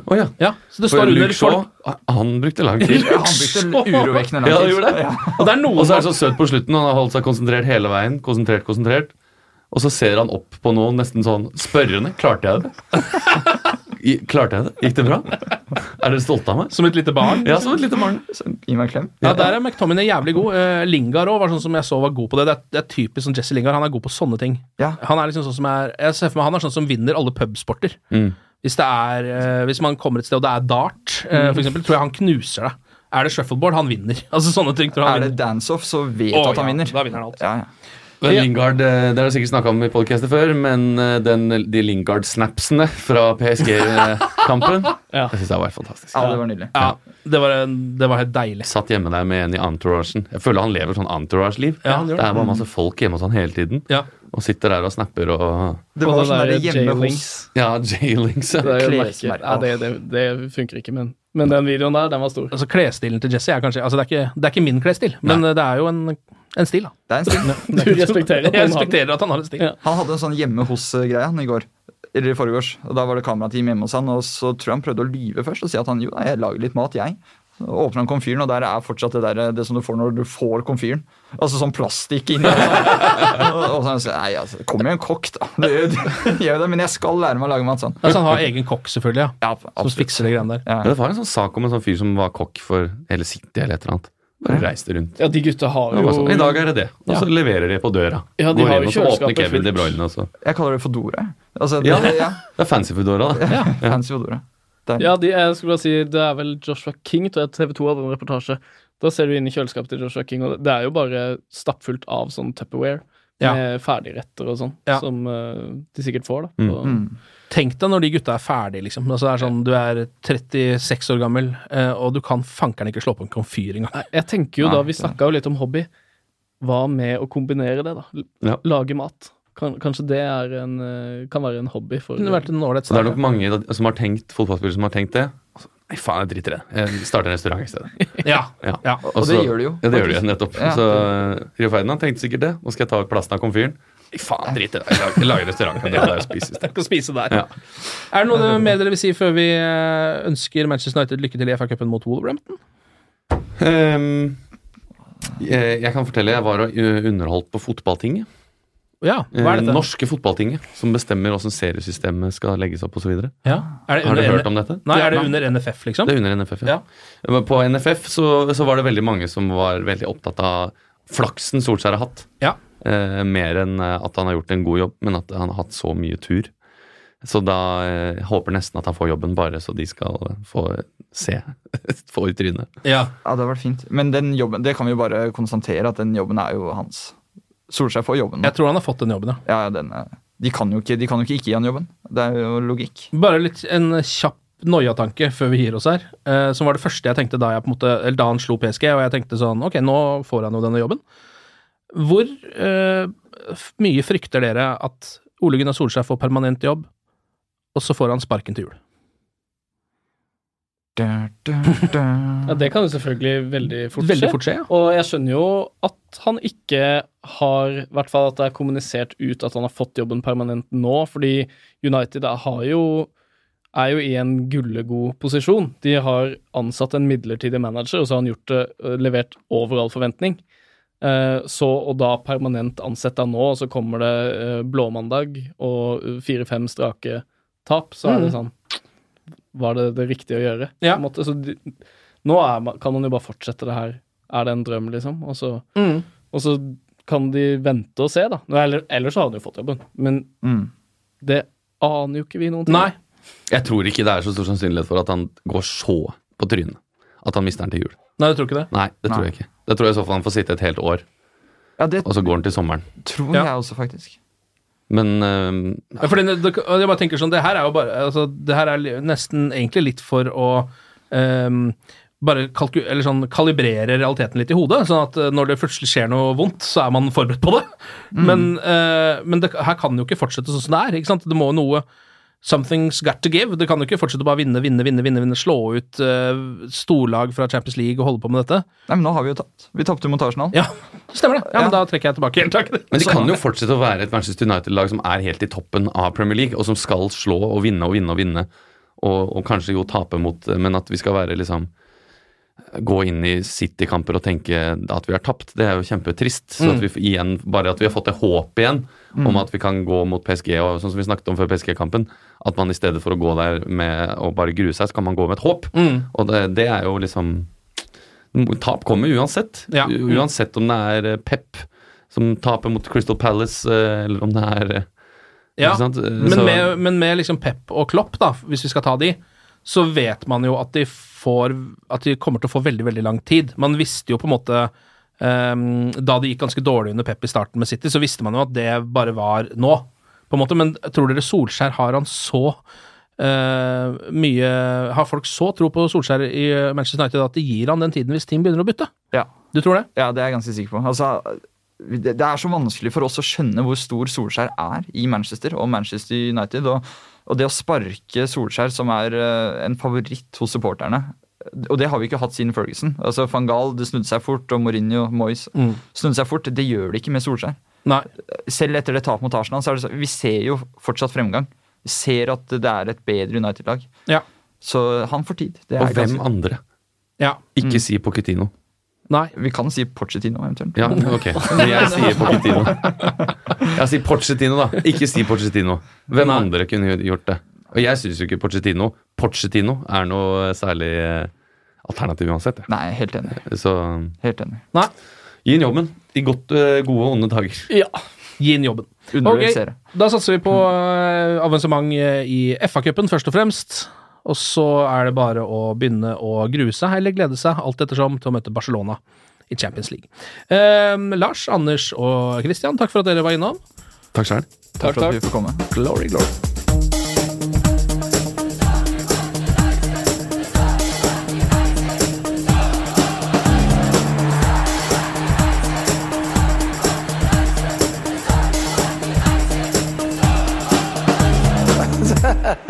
Speaker 6: Å ja.
Speaker 3: Så det
Speaker 6: For
Speaker 3: står under
Speaker 6: Luke Shaw,
Speaker 3: folk.
Speaker 6: Han brukte lang tid.
Speaker 3: Ja, han brukte urovekkende lang
Speaker 6: Ja, han
Speaker 3: tid.
Speaker 6: gjorde det.
Speaker 3: Ja. Og det er noen
Speaker 6: Og så er det
Speaker 3: som-
Speaker 6: så søt på slutten. Han har holdt seg konsentrert hele veien. Konsentrert, konsentrert. Og så ser han opp på noen nesten sånn spørrende. Klarte jeg det? I, klarte jeg det? Gikk det bra? Er dere stolte av meg?
Speaker 3: Som et lite barn?
Speaker 6: Ja, som et lite barn.
Speaker 5: Gi meg en klem.
Speaker 3: Ja, Der er McTominay jævlig god. Eh, Lingard òg var sånn som jeg så var god på det. Det er, det er typisk sånn Jesse Lingard. Han er god på sånne ting. Han er liksom sånn som er Jeg ser for meg han er sånn som vinner alle pubsporter.
Speaker 4: Mm.
Speaker 3: Hvis det er eh, Hvis man kommer et sted og det er dart, eh,
Speaker 4: Mm.
Speaker 3: for eksempel, tror jeg han knuser deg. Er det shuffleboard, han vinner. Altså sånne ting tror jeg
Speaker 5: Er
Speaker 3: han
Speaker 5: det
Speaker 3: vinner.
Speaker 5: dance-off, så vet
Speaker 3: Å,
Speaker 5: at han
Speaker 3: ja,
Speaker 5: vinner.
Speaker 3: Da vinner han alt.
Speaker 5: Ja, ja.
Speaker 6: Men Lingard, eh, Det har jeg sikkert snakka om i podkastet før, men eh, den, de Lingard-snapsene fra PSG-kampen
Speaker 3: Ja.
Speaker 6: Jeg syns det var fantastisk.
Speaker 5: Ja, det var nydelig.
Speaker 3: Ja, det var, en- det var helt deilig.
Speaker 6: Satt hjemme der med en i entouragen. Jeg føler han lever sånn entourage-liv.
Speaker 3: Ja, han gjør
Speaker 6: det er
Speaker 3: det.
Speaker 6: bare masse folk hjemme hos han hele tiden. Og sitter der og snapper og
Speaker 5: Det var Og det sånn der der hjemme hos-
Speaker 4: J-Links.
Speaker 6: Ja, J-Links.
Speaker 4: Det, er jo merke-
Speaker 6: Klesmerke.
Speaker 4: ja, det, det, det funker ikke, men, men den videoen der, den var stor.
Speaker 3: Altså Klesstilen til Jesse er kanskje altså, det, er ikke, det er ikke min klesstil, men eh, det er jo en, en stil, da.
Speaker 5: Det er en stil.
Speaker 4: Du respekterer at
Speaker 3: Jeg
Speaker 4: han har den.
Speaker 3: respekterer at han har en stil.
Speaker 5: Han hadde en sånn hjemme hos-greie han i går. Eller i forgårs. Og Da var det kamerateam hjemme hos han, og så tror jeg han prøvde å lyve først og si at han jo, nei, jeg lager litt mat, jeg. Så åpner han komfyren, og der er fortsatt det der, eh, det som du får når du får komfyren. Altså sånn plastikk inni. og, og så han sier, nei, altså, det kommer jo en kokk, da. Det, det, gjør jo det, men jeg skal lære meg å lage mat sånn.
Speaker 3: Altså, han har egen kokk, selvfølgelig,
Speaker 5: ja.
Speaker 3: som fikser de greiene der.
Speaker 6: Ja, det var en sånn sak om en sånn fyr som var kokk for hele City eller et eller annet. Bare reiste rundt.
Speaker 4: Ja, de gutta har
Speaker 6: Det var
Speaker 4: jo
Speaker 6: bare
Speaker 3: altså,
Speaker 6: sånn, I dag er det det. Og så
Speaker 4: Ja.
Speaker 6: leverer de på døra.
Speaker 4: Ja, de
Speaker 6: Går
Speaker 4: har
Speaker 6: inn,
Speaker 4: jo
Speaker 6: og så åpner
Speaker 4: kjøleskapet
Speaker 6: Kevin
Speaker 4: fullt.
Speaker 6: De Bruyne også.
Speaker 5: Jeg kaller det fedora. Altså, det,
Speaker 6: Ja,
Speaker 5: ja.
Speaker 6: det er fancy fedora, da.
Speaker 5: Ja, fancy fedora. Der.
Speaker 4: Ja, de, jeg skulle bare si Det er vel Joshua King, tror jeg TV 2 hadde en reportasje. Da ser du inn i kjøleskapet til Joshua King, og det er jo bare stappfullt av sånn Tupperware
Speaker 3: Ja.
Speaker 4: med ferdigretter og sånn,
Speaker 3: Ja.
Speaker 4: som eh, de sikkert får, da.
Speaker 3: Mm.
Speaker 4: på-
Speaker 3: Mm. Tenk deg når de gutta er ferdige, liksom. Altså, det er sånn, du er 36 år gammel, eh, og du kan fankeren ikke slå på en komfyr engang.
Speaker 4: Jeg tenker jo da, Vi snakka jo litt om hobby. Hva med å kombinere det, da? L-
Speaker 6: Ja.
Speaker 4: Lage mat. Kan, kanskje det er en, eh, kan være en hobby for
Speaker 3: Kunne vært en ålreit
Speaker 6: Så det er nok mange da- som har tenkt, fotballspillere som har tenkt det. Og så, Nei, faen, jeg driter i det. Jeg starter en restaurant i stedet.
Speaker 3: Ja.
Speaker 6: Og
Speaker 5: Og
Speaker 6: så-
Speaker 5: det gjør de jo,
Speaker 6: Ja, det gjør de
Speaker 5: faktisk.
Speaker 6: jo nettopp.
Speaker 5: Ja.
Speaker 6: Så eh, Rio Ferdinand tenkte sikkert det. Nå skal jeg ta plassen av komfyren. Nei, faen, drit i det. Jeg lager- Jeg lager restaurant. Jeg drar der og spiser i stedet.
Speaker 3: Å spise der.
Speaker 6: Ja.
Speaker 3: Er det noe dere- mer dere vil si før vi eh, ønsker Manchester United lykke til i FA-cupen mot Wolverhampton?
Speaker 6: Ehm, jeg, jeg kan fortelle, jeg var og ø, underholdt på fotballtinget.
Speaker 3: Ja, hva er
Speaker 6: Eh,
Speaker 3: dette?
Speaker 6: Norske fotballtinget, som bestemmer hvordan seriesystemet skal legges opp osv.
Speaker 3: Ja. Er det
Speaker 6: Har
Speaker 3: under
Speaker 6: du
Speaker 3: N-
Speaker 6: hørt om dette?
Speaker 3: Nei, er det under NFF, liksom?
Speaker 6: Det er under NFF, ja. Eh, På NFF så, så var det veldig mange som var veldig opptatt av flaksen Solskjær har hatt.
Speaker 3: Ja.
Speaker 6: Eh, mer enn eh, at han har gjort en god jobb, men at han har hatt så mye tur. Så da eh, jeg håper nesten at han får jobben, bare så de skal få se. få i trynet.
Speaker 3: Ja.
Speaker 5: det hadde vært fint. Men den jobben, det kan vi jo bare konstatere at den jobben er jo hans. Solskjær får jobben. nå.
Speaker 3: Jeg tror han har fått den jobben, ja.
Speaker 5: Ja, ja, den, eh, de, kan jo ikke, de kan jo ikke ikke gi han jobben. Det er jo logikk.
Speaker 3: Bare litt en kjapp kjapp noiatanke før vi gir oss her, eh, som var det første jeg tenkte da, jeg på en måte, eller da han slo PSG, og jeg tenkte sånn Ok, nå får han jo denne jobben. Hvor eh, f- mye frykter dere at Ole Gunnar Solskjær får permanent jobb, og så får han sparken til jul?
Speaker 4: Ja, Det kan jo selvfølgelig veldig fort
Speaker 3: Veldig fort skje, ja.
Speaker 4: Og jeg skjønner jo at han ikke har I hvert fall at det er kommunisert ut at han har fått jobben permanent nå, fordi United er- har jo er jo i en gullegod posisjon. De har ansatt en midlertidig manager, og så har han gjort det, øh, levert over all forventning. Eh, Så og da permanent ansette han nå, og så kommer det eh, blåmandag og eh, fire-fem strake tap, så er det
Speaker 3: Mhm.
Speaker 4: sånn Var det det riktige å gjøre?
Speaker 3: Ja.
Speaker 4: På en måte. Så de, nå er, man- kan man jo bare fortsette det her. Er det en drøm, liksom? Og så,
Speaker 3: Mhm.
Speaker 4: og så kan de vente og se, da. Nå, eller, ellers så hadde de jo fått jobben. Men
Speaker 5: Mm.
Speaker 4: det aner jo ikke vi noen ting.
Speaker 3: Nei.
Speaker 6: Jeg tror ikke det er så stor sannsynlighet for at han går så på trynet at han mister den til jul.
Speaker 3: Nei, jeg tror ikke det.
Speaker 6: Nei, det tror jeg ikke. Det tror jeg i så fall han får sitte et helt år, og så går han til sommeren.
Speaker 5: Tror jeg også, faktisk.
Speaker 6: Men øhm,
Speaker 3: Ja, fordi det, det, jeg bare tenker sånn, det her er jo bare altså, Det her er li- nesten egentlig litt for å ehm, bare kalku, eller sånn, kalibrere realiteten litt i hodet, sånn at eh, når det plutselig skjer noe vondt, så er man forberedt på det.
Speaker 6: Mm.
Speaker 3: Men, eh, men det, her kan det jo ikke fortsette sånn som det er. ikke sant? Det må jo noe Something's got to give. Det kan jo ikke fortsette å bare vinne, vinne, vinne, vinne, vinne, slå ut eh, storlag fra Champions League og holde på med dette.
Speaker 5: Nei, men nå har vi jo tapt. Vi tapte jo mot Arsenal.
Speaker 3: Ja, stemmer det. Ja, men Da trekker jeg tilbake. helt takk.
Speaker 6: Men de kan jo fortsette å være et Manchester United-lag som er helt i toppen av Premier League, og som skal slå og vinne og vinne og vinne, og, og kanskje jo tape mot eh, Men at vi skal være liksom Gå inn i City-kamper og tenke at vi har tapt, det er jo kjempetrist. Så
Speaker 3: Mm.
Speaker 6: at vi f- igjen, bare at vi har fått det håpet igjen om
Speaker 3: Mm.
Speaker 6: at vi kan gå mot PSG, og sånn som vi snakket om før PSG-kampen, at man i stedet for å gå der med og bare grue seg, så kan man gå med et håp.
Speaker 3: Mm.
Speaker 6: Og det, det er jo liksom Tap kommer uansett.
Speaker 3: Ja.
Speaker 6: U- Uansett om det er eh, Pep som taper mot Crystal Palace, eh, eller om det er eh,
Speaker 3: Ja,
Speaker 6: ikke sant? Eh,
Speaker 3: men
Speaker 6: så-
Speaker 3: med, men med liksom Pep og Klopp, da, hvis vi skal ta de, så vet man jo at de får At de kommer til å få veldig, veldig lang tid. Man visste jo på en måte ehm, Da det gikk ganske dårlig under Pep i starten med City, så visste man jo at det bare var nå, på en måte. Men tror dere Solskjær har han så eh, mye Har folk så tro på Solskjær i eh, Manchester United at de gir han den tiden hvis team begynner å bytte?
Speaker 5: Ja.
Speaker 3: Du tror det?
Speaker 5: Ja, det er jeg ganske sikker på. Altså, det, det er så vanskelig for oss å skjønne hvor stor Solskjær er i Manchester og Manchester United. Og, og det å sparke Solskjær, som er eh, en favoritt hos supporterne Og det har vi ikke hatt siden Ferguson. Altså, Van Gaal det snudde seg fort, og Mourinho, Moyes
Speaker 3: Mm.
Speaker 5: snudde seg fort. Det gjør det ikke med Solskjær.
Speaker 3: Nei.
Speaker 5: Selv etter det tapet mot Arsenal, så er det så, vi ser jo fortsatt fremgang. Vi ser at det er et bedre United-lag.
Speaker 3: Ja.
Speaker 5: Så han får tid. Det
Speaker 6: Og
Speaker 5: er
Speaker 6: hvem
Speaker 5: ganske-
Speaker 6: andre?
Speaker 3: Ja.
Speaker 6: Ikke si Pochettino.
Speaker 3: Nei.
Speaker 5: Vi kan si Pochettino, eventuelt.
Speaker 6: Ja, ok. Så jeg sier Pochettino. Jeg sier Pochettino, da. Ikke si Pochettino. Hvem andre kunne jo gjort det? Og jeg syns jo ikke Pochettino Pochettino er noe særlig eh, alternativ uansett. jeg.
Speaker 5: Nei, helt enig.
Speaker 6: Så um,
Speaker 5: Helt enig.
Speaker 3: Nei.
Speaker 6: gi ham jobben. I godt, eh, gode og onde dager.
Speaker 4: Ja.
Speaker 3: Gi inn jobben.
Speaker 5: Undervurderer.
Speaker 3: Ok, Da satser vi på eh, avansement eh, i FA-cupen, først og fremst. Og så er det bare å begynne å grue seg, eller glede seg, alt ettersom, til å møte Barcelona i Champions League. Eh, Lars, Anders og Christian, takk for at dere var innom.
Speaker 6: Takk sjæl.
Speaker 5: Takk for at vi får komme.
Speaker 3: Glory, glory.